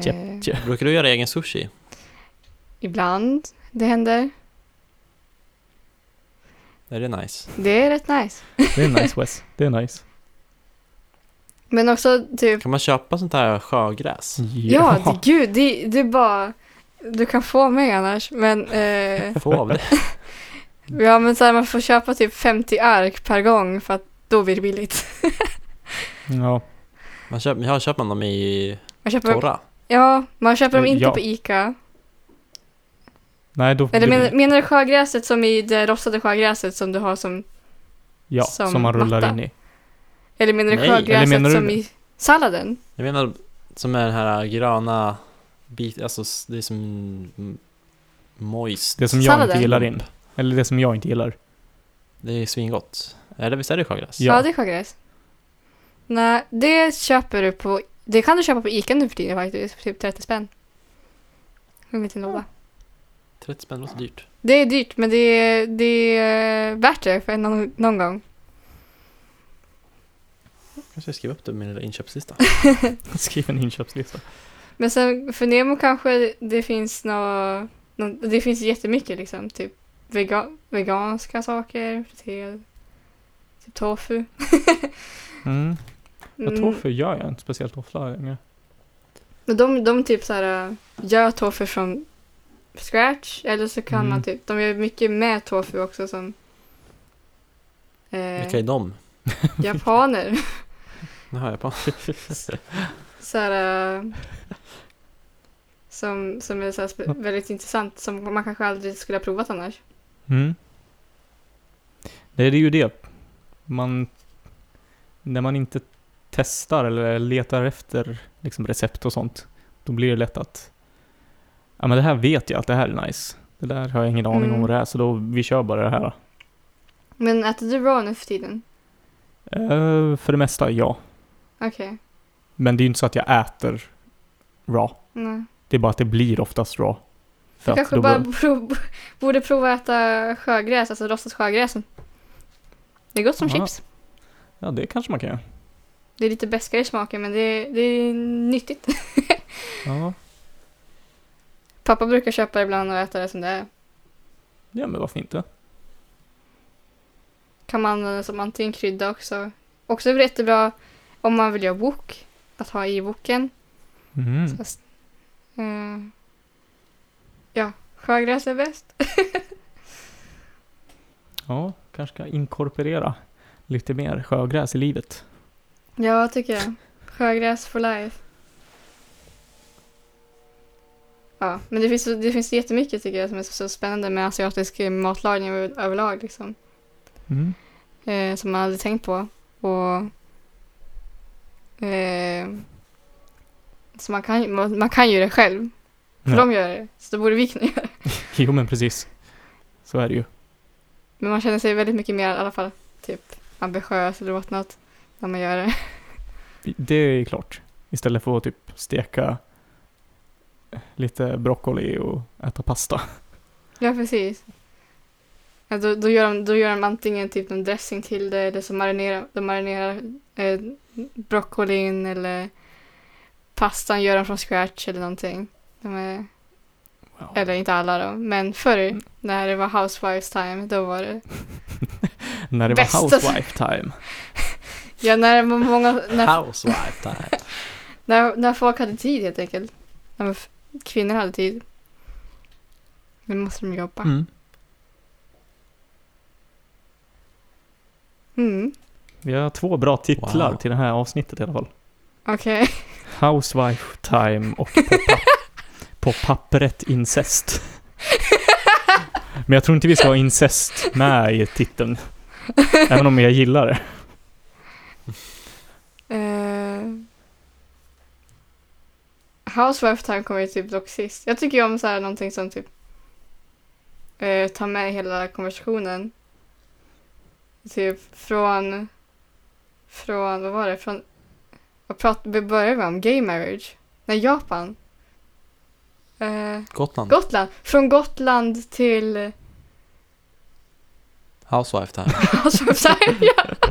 Speaker 3: Chepche.
Speaker 1: Brukar du göra egen sushi?
Speaker 2: Ibland det händer.
Speaker 1: Är det nice?
Speaker 2: Det är rätt nice.
Speaker 3: Det är nice Wes. Det är nice.
Speaker 2: Men också typ
Speaker 1: Kan man köpa sånt här sjögräs?
Speaker 2: Ja, det, gud, det, det är bara... Du kan få mig annars, men...
Speaker 3: Mm.
Speaker 2: Eh,
Speaker 1: Få av det?
Speaker 2: ja, men så här, man får köpa typ 50 ark per gång för att då blir det billigt.
Speaker 3: ja.
Speaker 1: Man köper, ja, köper man dem i
Speaker 2: Man köper,
Speaker 1: torra?
Speaker 2: ja, man köper dem inte
Speaker 3: Ja.
Speaker 2: på Ica.
Speaker 3: Nej, då...
Speaker 2: Eller men, menar du sjögräset som i det rostade sjögräset som du har som...
Speaker 3: ja,
Speaker 2: som
Speaker 3: som, man rullar
Speaker 2: matta?
Speaker 3: in i.
Speaker 2: Eller menar du
Speaker 1: Nej,
Speaker 2: sjögräset
Speaker 3: eller menar du-
Speaker 2: som i salladen?
Speaker 1: Jag menar, som är den här gröna bit, alltså s- det är som mm, moist.
Speaker 3: Det som jag
Speaker 2: Salladen.
Speaker 3: inte gillar in. Eller det som jag inte gillar.
Speaker 1: Det är svingott. Eller visst är det sjögräs?
Speaker 2: Ja,
Speaker 3: Ja.
Speaker 2: det är sjögräs. Nej, det köper du på... Det kan du köpa på Ica nu för tiden faktiskt, för typ 30 spänn. En liten låda.
Speaker 1: 30 spänn låter dyrt.
Speaker 2: Det är dyrt, men det är, det är värt det för någon, någon gång.
Speaker 1: Kanske jag skriver upp det på min lilla inköpslista.
Speaker 3: Skriv en inköpslista.
Speaker 2: Men sen för Nemo kanske det finns nå, nå, Det finns jättemycket liksom. Typ vega, veganska saker, friterad, typ tofu.
Speaker 3: Mm. Jag
Speaker 2: Mm,
Speaker 3: tofu gör jag inte speciellt ofta längre.
Speaker 2: Men de, de typ så här äh, gör tofu från scratch. Eller så kan
Speaker 3: Mm.
Speaker 2: man typ... De gör mycket med tofu också som eh,
Speaker 1: Vilka är de?
Speaker 2: japaner.
Speaker 1: Nu hör jag på.
Speaker 2: så här, äh, som, som är så här spe- väldigt intressant som man kanske aldrig skulle ha provat annars.
Speaker 3: Mm. Det är ju det. Man, när man inte testar eller letar efter liksom recept och sånt, då blir det lätt att ja men det här vet jag att det här är nice. Det där har jag ingen aning om
Speaker 2: Mm.
Speaker 3: vad det är, så då vi kör bara det här.
Speaker 2: Men äter du raw nu för tiden?
Speaker 3: Eh, för det mesta, ja.
Speaker 2: Okej.
Speaker 3: Men det är ju inte så att jag äter raw.
Speaker 2: Nej.
Speaker 3: Det är bara att det blir oftast raw. För
Speaker 2: Du
Speaker 3: att
Speaker 2: kanske
Speaker 3: då-
Speaker 2: bara prov, borde prova att äta sjögräs, alltså rostat sjögräs. Det är gott som
Speaker 3: Aha.
Speaker 2: chips.
Speaker 3: Ja, det kanske man kan göra.
Speaker 2: Det är lite beskare i smaken men det, det är nyttigt.
Speaker 3: Ja,
Speaker 2: Pappa brukar köpa det ibland och äta det som det är.
Speaker 3: ja men varför inte?
Speaker 2: Kan man använda det som antikrydda också. Också är det jättebra om man vill göra wok, att ha i woken.
Speaker 3: Mm.
Speaker 2: Så s- eh, ja, sjögräs är bäst.
Speaker 3: Ja, kanske ska inkorporera lite mer sjögräs i livet.
Speaker 2: Ja, tycker jag. Sjögräs for life. Ja, men det finns, det finns jättemycket tycker jag som är så, så spännande med asiatisk matlagning över- överlag liksom.
Speaker 3: Mm.
Speaker 2: Eh, som man aldrig tänkt på. Och eh, så man kan, ju- man, man kan ju det själv. För
Speaker 3: Ja.
Speaker 2: de gör det, så då borde vi kunna göra det.
Speaker 3: Jo, men precis. Så är det ju.
Speaker 2: Men man känner sig väldigt mycket mer i alla fall typ ambitiös eller åt något när man gör det.
Speaker 3: Det är klart. Istället för att typ steka lite broccoli och äta pasta.
Speaker 2: Ja, precis. Ja, då, då, gör de, då gör de antingen typ någon dressing till det eller så marinerar de marinerar eh, broccolin eller pastan gör de från scratch eller någonting. De är,
Speaker 3: Wow.
Speaker 2: eller inte alla då, men förr när det var housewives time, då var det...
Speaker 3: När det
Speaker 2: Bästa-
Speaker 3: var housewife time.
Speaker 2: Ja, när, man- många, när,
Speaker 1: Housewife time.
Speaker 2: när, när folk hade tid helt enkelt. När f- kvinnor hade tid. Nu måste de jobba.
Speaker 1: Mm.
Speaker 2: Mm,
Speaker 3: Vi har två bra titlar
Speaker 1: Wow.
Speaker 3: till det här avsnittet i alla fall.
Speaker 2: okej.
Speaker 3: Housewife time och på, pa- på pappret incest. Men jag tror inte vi ska ha incest med i titeln. Även om jag gillar det.
Speaker 2: Eh, Housewife Time kommer ju typ dock sist. Jag tycker ju om så här någonting som typ eh, tar med hela konversationen. Typ från, från, vad var det, från, vad prat, vi började med om? Gay marriage? Nej, Japan. Eh,
Speaker 1: Gotland.
Speaker 2: Gotland. Från Gotland till
Speaker 1: Housewife time.
Speaker 2: Housewife Time. ja.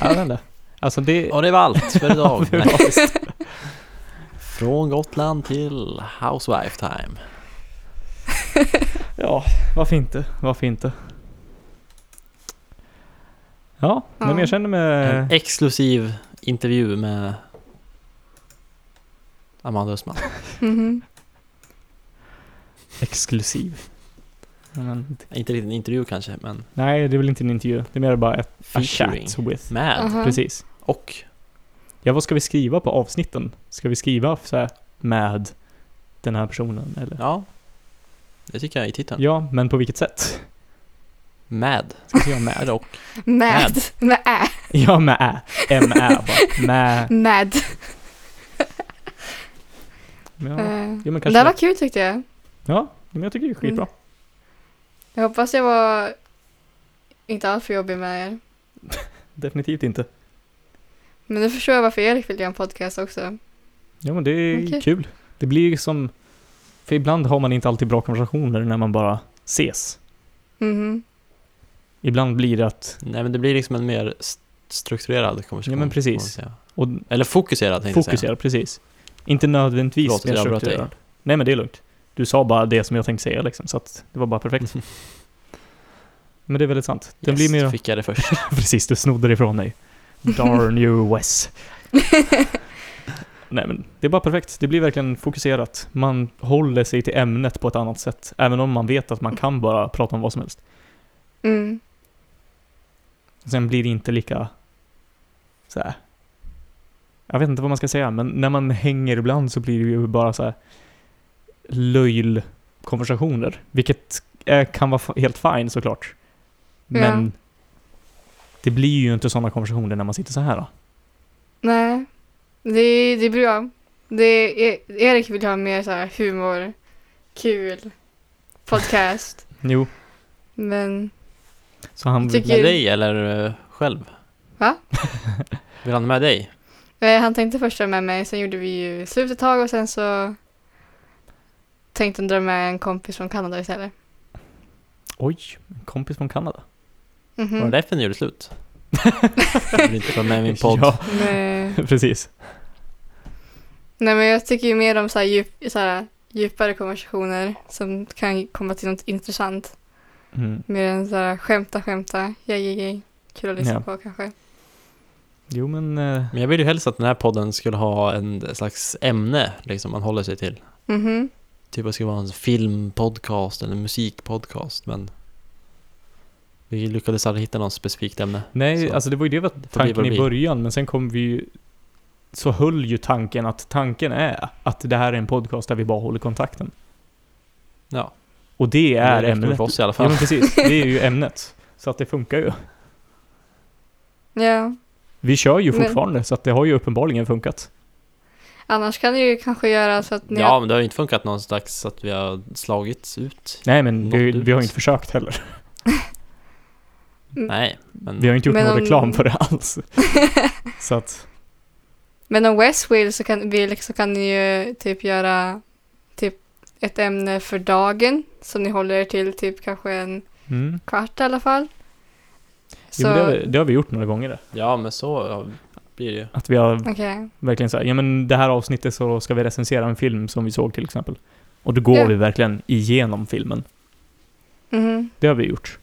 Speaker 3: Jag vet inte. Alltså det...
Speaker 1: Och det var allt för idag.
Speaker 3: det var
Speaker 1: Nej.
Speaker 3: faktiskt-
Speaker 1: Från Gotland till Housewife time.
Speaker 3: Ja, varför inte? Varför inte? Ja,
Speaker 2: Ja.
Speaker 3: men jag känner mig...
Speaker 1: En exklusiv intervju med Amanda Östman.
Speaker 2: Mhm.
Speaker 3: Exklusiv. Men,
Speaker 1: Inte riktigt en intervju kanske, men
Speaker 3: nej, det är väl inte en intervju. Det är mer bara ett
Speaker 1: Ah,
Speaker 3: a
Speaker 1: featuring.
Speaker 3: chat with.
Speaker 1: Med.
Speaker 2: Aha.
Speaker 3: Precis.
Speaker 1: Och
Speaker 3: Ja, vad ska vi skriva på avsnitten? Ska vi skriva så här med den här personen eller?
Speaker 1: ja, det tycker jag i titeln.
Speaker 3: Ja, men på vilket sätt?
Speaker 1: Med.
Speaker 3: Ska vi skriva med?
Speaker 1: Med och.
Speaker 2: Mad. Med eh, ä.
Speaker 3: Ja, med ä. M-ä bara. Med.
Speaker 2: Mad.
Speaker 3: Ja,
Speaker 2: Eh,
Speaker 3: jo, men
Speaker 2: Det Mm. här
Speaker 3: kanske
Speaker 2: var
Speaker 3: det.
Speaker 2: kul tyckte jag.
Speaker 3: Ja, men jag tycker det är skitbra.
Speaker 2: Jag hoppas jag var inte allt för jobbig med er.
Speaker 3: Definitivt inte.
Speaker 2: Men nu förstår jag varför Erik vill göra en podcast också.
Speaker 3: Ja, men det är
Speaker 2: Okej.
Speaker 3: kul. Det blir ju som... För ibland har man inte alltid bra konversationer när man bara ses.
Speaker 2: Mhm.
Speaker 3: Ibland blir det att...
Speaker 1: Nej, men det blir liksom en mer st- strukturerad konversation.
Speaker 3: Ja, men precis.
Speaker 1: får man säga.
Speaker 3: Och
Speaker 1: Eller fokuserad tänkte jag säga.
Speaker 3: fokusera, precis. Inte nödvändigtvis
Speaker 1: Förlåt att
Speaker 3: mer
Speaker 1: jag avbröt dig.
Speaker 3: strukturerad. Nej, men det är lugnt. Du sa bara det som jag tänkte säga liksom, så att det var bara perfekt. men det är väldigt sant. Den
Speaker 1: Yes,
Speaker 3: blir mer...
Speaker 1: fick jag det först.
Speaker 3: precis, du snodde det ifrån dig. Darn you Wes. Nej men det är bara perfekt. Det blir verkligen fokuserat. Man håller sig till ämnet på ett annat sätt. Även om man vet att man kan bara prata om vad som helst.
Speaker 2: Mm.
Speaker 3: Sen blir det inte lika så här. Jag vet inte vad man ska säga, men när man hänger ibland så blir det ju bara så här löjlkonversationer, vilket eh, kan vara f- helt fine såklart. Men
Speaker 2: Ja.
Speaker 3: det blir ju inte sådana konversationer när man sitter så här. Då.
Speaker 2: Nej, det, det är bra. Det, E- Erik vill ha mer så här humor, kul, podcast.
Speaker 3: Jo,
Speaker 2: Men
Speaker 3: så han...
Speaker 2: Tycker-
Speaker 1: Med dig eller eh, själv?
Speaker 2: Va?
Speaker 1: Vill han med dig?
Speaker 2: eh, han tänkte först dra med mig, sen gjorde vi ju slut ett tag och sen så tänkte han dra med en kompis från Kanada istället.
Speaker 3: Oj, en kompis från Kanada.
Speaker 1: Var
Speaker 2: Mhm.
Speaker 1: det därför ni gjorde slut? Jag vill inte vara med i min podd.
Speaker 3: Ja,
Speaker 2: Nej.
Speaker 3: precis.
Speaker 2: Nej men jag tycker ju mer om så här, djup, så här djupare konversationer som kan komma till något intressant.
Speaker 3: Mm.
Speaker 2: Mer än så här skämta, skämta, ja, ja, ja. Kul att lyssna
Speaker 3: Ja.
Speaker 2: på kanske.
Speaker 3: Jo, men... eh,
Speaker 1: Men jag vill ju helst att den här podden skulle ha en slags ämne liksom man håller sig till.
Speaker 2: Mhm.
Speaker 1: Typ att det skulle vara en filmpodcast eller en musikpodcast men vi lyckades aldrig hitta något specifikt ämne.
Speaker 3: Nej,
Speaker 1: Så.
Speaker 3: alltså det var ju det var
Speaker 1: bli vad
Speaker 3: tanken
Speaker 1: det
Speaker 3: i
Speaker 1: blir.
Speaker 3: början, men sen kom vi ju... Så höll ju tanken att tanken är att det här är en podcast där vi bara håller kontakten.
Speaker 1: Ja,
Speaker 3: Och det är
Speaker 1: räcker väl
Speaker 3: ämnet.
Speaker 1: för oss i alla
Speaker 3: Ja,
Speaker 1: fall.
Speaker 3: men precis. Det är ju ämnet. Så att det funkar ju.
Speaker 2: Ja.
Speaker 3: Vi kör ju
Speaker 2: Men-
Speaker 3: fortfarande, så att det har ju uppenbarligen funkat.
Speaker 2: Annars kan det ju kanske göra så att ni...
Speaker 1: Ja, men det har ju inte funkat någon slags att vi har slagits ut.
Speaker 3: Nej, men vi,
Speaker 1: Nått ut.
Speaker 3: vi har ju inte försökt heller.
Speaker 1: Nej, men
Speaker 3: Vi har ju inte gjort
Speaker 2: Men
Speaker 3: någon
Speaker 2: om-
Speaker 3: reklam för det alls. så att,
Speaker 2: Men om West vill så kan, vill så kan ni ju typ göra typ ett ämne för dagen som ni håller er till typ kanske en
Speaker 3: mm.
Speaker 2: kvart i alla fall.
Speaker 3: jo,
Speaker 2: Så,
Speaker 3: men det, har vi, det har vi gjort några gånger. det.
Speaker 1: ja, men så ja, blir det ju.
Speaker 3: Att vi har
Speaker 2: okej.
Speaker 3: verkligen så här, ja men det här avsnittet så ska vi recensera en film som vi såg till exempel. Och då går
Speaker 2: Ja.
Speaker 3: vi verkligen igenom filmen.
Speaker 2: Mhm.
Speaker 3: Det har vi gjort.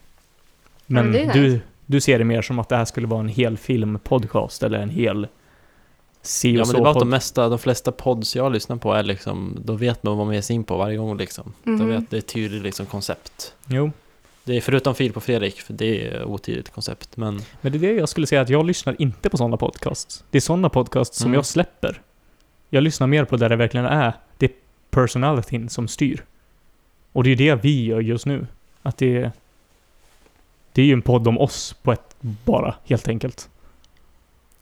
Speaker 3: Men
Speaker 2: men det är
Speaker 3: du, du ser det mer som att det här skulle vara en hel filmpodcast eller en hel se
Speaker 1: Ja,
Speaker 3: och
Speaker 1: men det är bara att de
Speaker 3: så-podd.
Speaker 1: mesta, de flesta pods jag lyssnar på är liksom, då vet man vad man ger sig in på varje gång liksom.
Speaker 2: Mhm.
Speaker 1: De vet, det är ett tydligt liksom koncept.
Speaker 3: Jo,
Speaker 1: Det är förutom Filip och Fredrik, för det är otydligt koncept, men
Speaker 3: men det är det jag skulle säga att jag lyssnar inte på sådana podcasts. Det är sådana podcasts som
Speaker 1: Mm.
Speaker 3: jag släpper. Jag lyssnar mer på där det verkligen är, det är personalityn som styr. Och det är ju det vi gör just nu. Att det är... Det är ju en podd om oss på ett bara, helt enkelt.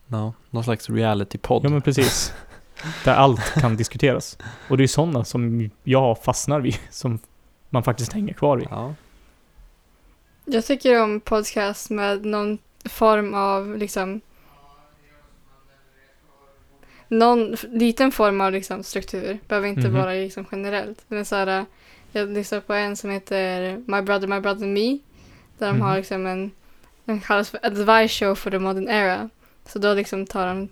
Speaker 1: ja, någon slags reality-podd.
Speaker 3: Ja men precis. Där allt kan diskuteras. Och det är sådana som jag fastnar vid, som man faktiskt hänger kvar vid.
Speaker 1: Ja.
Speaker 2: Jag tycker om podcast med någon form av liksom någon f- liten form av liksom struktur. Behöver inte
Speaker 3: Mhm.
Speaker 2: vara liksom generellt. Men så här, jag lyssnar på en som heter My Brother, My Brother and Me. Där de
Speaker 3: Mhm.
Speaker 2: har liksom en, den kallas för Advice Show for the Modern Era. Så då liksom tar de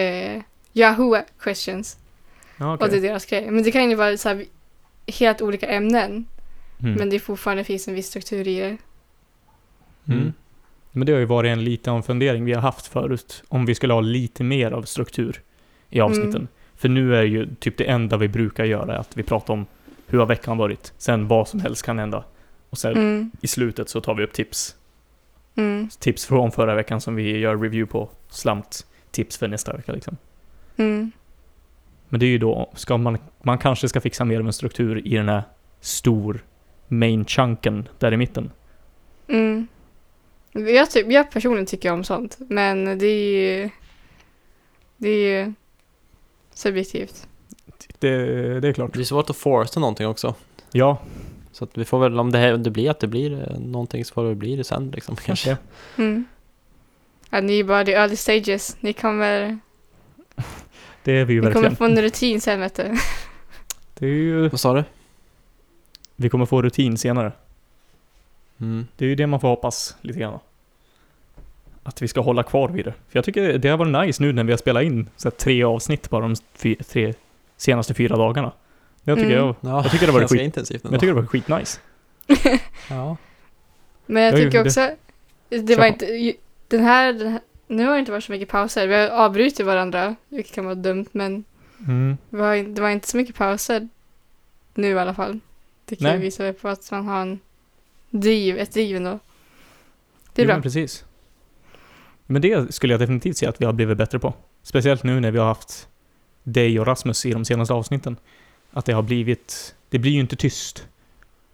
Speaker 2: eh, Yahoo questions.
Speaker 3: Ja,
Speaker 2: Och det är deras grej. Men det kan ju vara så här, helt olika ämnen.
Speaker 3: mm.
Speaker 2: Men
Speaker 3: Men,
Speaker 2: det fortfarande finns en viss struktur i det.
Speaker 3: mm. men det har ju varit en liten fundering vi har haft förut, om vi skulle ha lite mer av struktur i avsnitten.
Speaker 2: Mm.
Speaker 3: För nu är ju typ det enda vi brukar göra att vi pratar om hur har veckan varit, sen vad som helst kan hända. Och sen
Speaker 2: Mm.
Speaker 3: i slutet så tar vi upp tips.
Speaker 2: Mm.
Speaker 3: Tips från förra veckan som vi gör review på, slamt tips för nästa vecka liksom.
Speaker 2: Mm.
Speaker 3: Men det är ju då, ska man, man kanske ska fixa mer av en struktur i den här stor main chunken där i mitten.
Speaker 2: Mm. Jag, typ, jag personligen tycker om sånt, men det är ju, det är ju subjektivt.
Speaker 3: Det, det är klart.
Speaker 1: Det är svårt att forsta någonting också.
Speaker 3: Ja,
Speaker 1: Så att vi får väl, om det, här, om det blir att det blir eh, någonting så får det bli det sen liksom kanske.
Speaker 3: kanske.
Speaker 2: Mm. Ja, ni är bara the early stages. Ni kommer,
Speaker 3: Det är vi ju
Speaker 2: ni kommer
Speaker 3: verkligen.
Speaker 2: få en rutin sen vet du.
Speaker 3: Det är ju,
Speaker 1: Vad sa du?
Speaker 3: vi kommer få rutin senare.
Speaker 1: Mm.
Speaker 3: Det är ju det man får hoppas lite grann. Att vi ska hålla kvar vid det. För jag tycker det har varit nice nu när vi har spelat in så här, tre avsnitt bara de fy, tre, senaste fyra dagarna. Det tycker
Speaker 2: Mm.
Speaker 3: jag,
Speaker 1: Ja,
Speaker 3: jag tycker det var
Speaker 1: ganska
Speaker 3: skit.
Speaker 1: intensivt
Speaker 3: Jag tycker det var skitnice.
Speaker 1: Ja.
Speaker 2: Men jag
Speaker 3: Ja, ju,
Speaker 2: tycker
Speaker 3: det-
Speaker 2: också, det
Speaker 3: Kör
Speaker 2: var
Speaker 3: på.
Speaker 2: inte, ju- den här, den här, nu har det inte varit så mycket pauser. Vi har avbrutit varandra, vilket kan vara dumt, men
Speaker 3: Mm.
Speaker 2: det var, det var inte så mycket pauser nu i alla fall. Det kan
Speaker 3: Nej.
Speaker 2: ju visa väl på att man har en driv, ett driv ändå. Det är
Speaker 3: jo,
Speaker 2: bra.
Speaker 3: Men precis. Men det skulle jag definitivt säga att vi har blivit bättre på. Speciellt nu när vi har haft dig och Rasmus i de senaste avsnitten. att det har blivit, det blir ju inte tyst.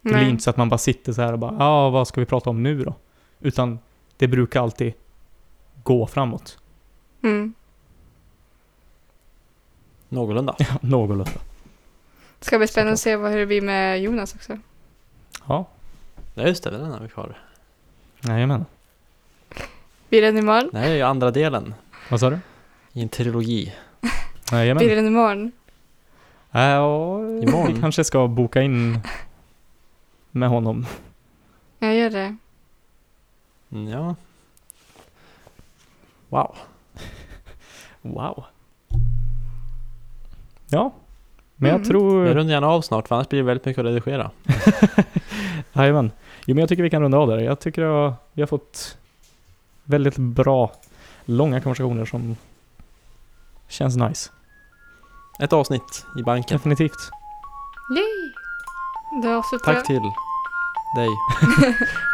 Speaker 3: Det blir inte så att man bara sitter så här och bara, ja, ah, vad ska vi prata om nu då? Utan det brukar alltid gå framåt.
Speaker 2: Mm.
Speaker 1: Någorlunda.
Speaker 3: Ja, någorlunda.
Speaker 2: Ska bli spännande att se vad, hur det blir med Jonas också.
Speaker 3: Ja,
Speaker 1: Ja just det, den har vi kvar.
Speaker 3: jajamän.
Speaker 2: Blir den imorgon?
Speaker 1: Det här är ju andra delen
Speaker 3: Vad sa du?
Speaker 1: i en trilogi.
Speaker 3: Jajamän.
Speaker 2: Blir den imorgon?
Speaker 3: Äh, ja,
Speaker 1: Imorgon.
Speaker 3: vi kanske ska boka in med honom.
Speaker 2: Jag gör det.
Speaker 1: Mm, Ja. Wow.
Speaker 3: Wow. Ja, men jag
Speaker 2: Mm.
Speaker 1: Jag
Speaker 3: tror...
Speaker 1: rundar gärna av snart för annars blir det väldigt mycket att redigera.
Speaker 3: Jajamän. Jo, men jag tycker vi kan runda av där. Jag tycker jag, vi har fått väldigt bra, långa konversationer som känns nice.
Speaker 1: Ett avsnitt i banken.
Speaker 3: Definitivt.
Speaker 2: Yay! Då avslutar jag.
Speaker 1: Tack till dig.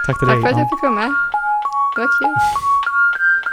Speaker 3: Tack till
Speaker 2: Tack
Speaker 3: dig.
Speaker 2: för att
Speaker 3: Ann.
Speaker 2: jag fick vara med. Det var kul.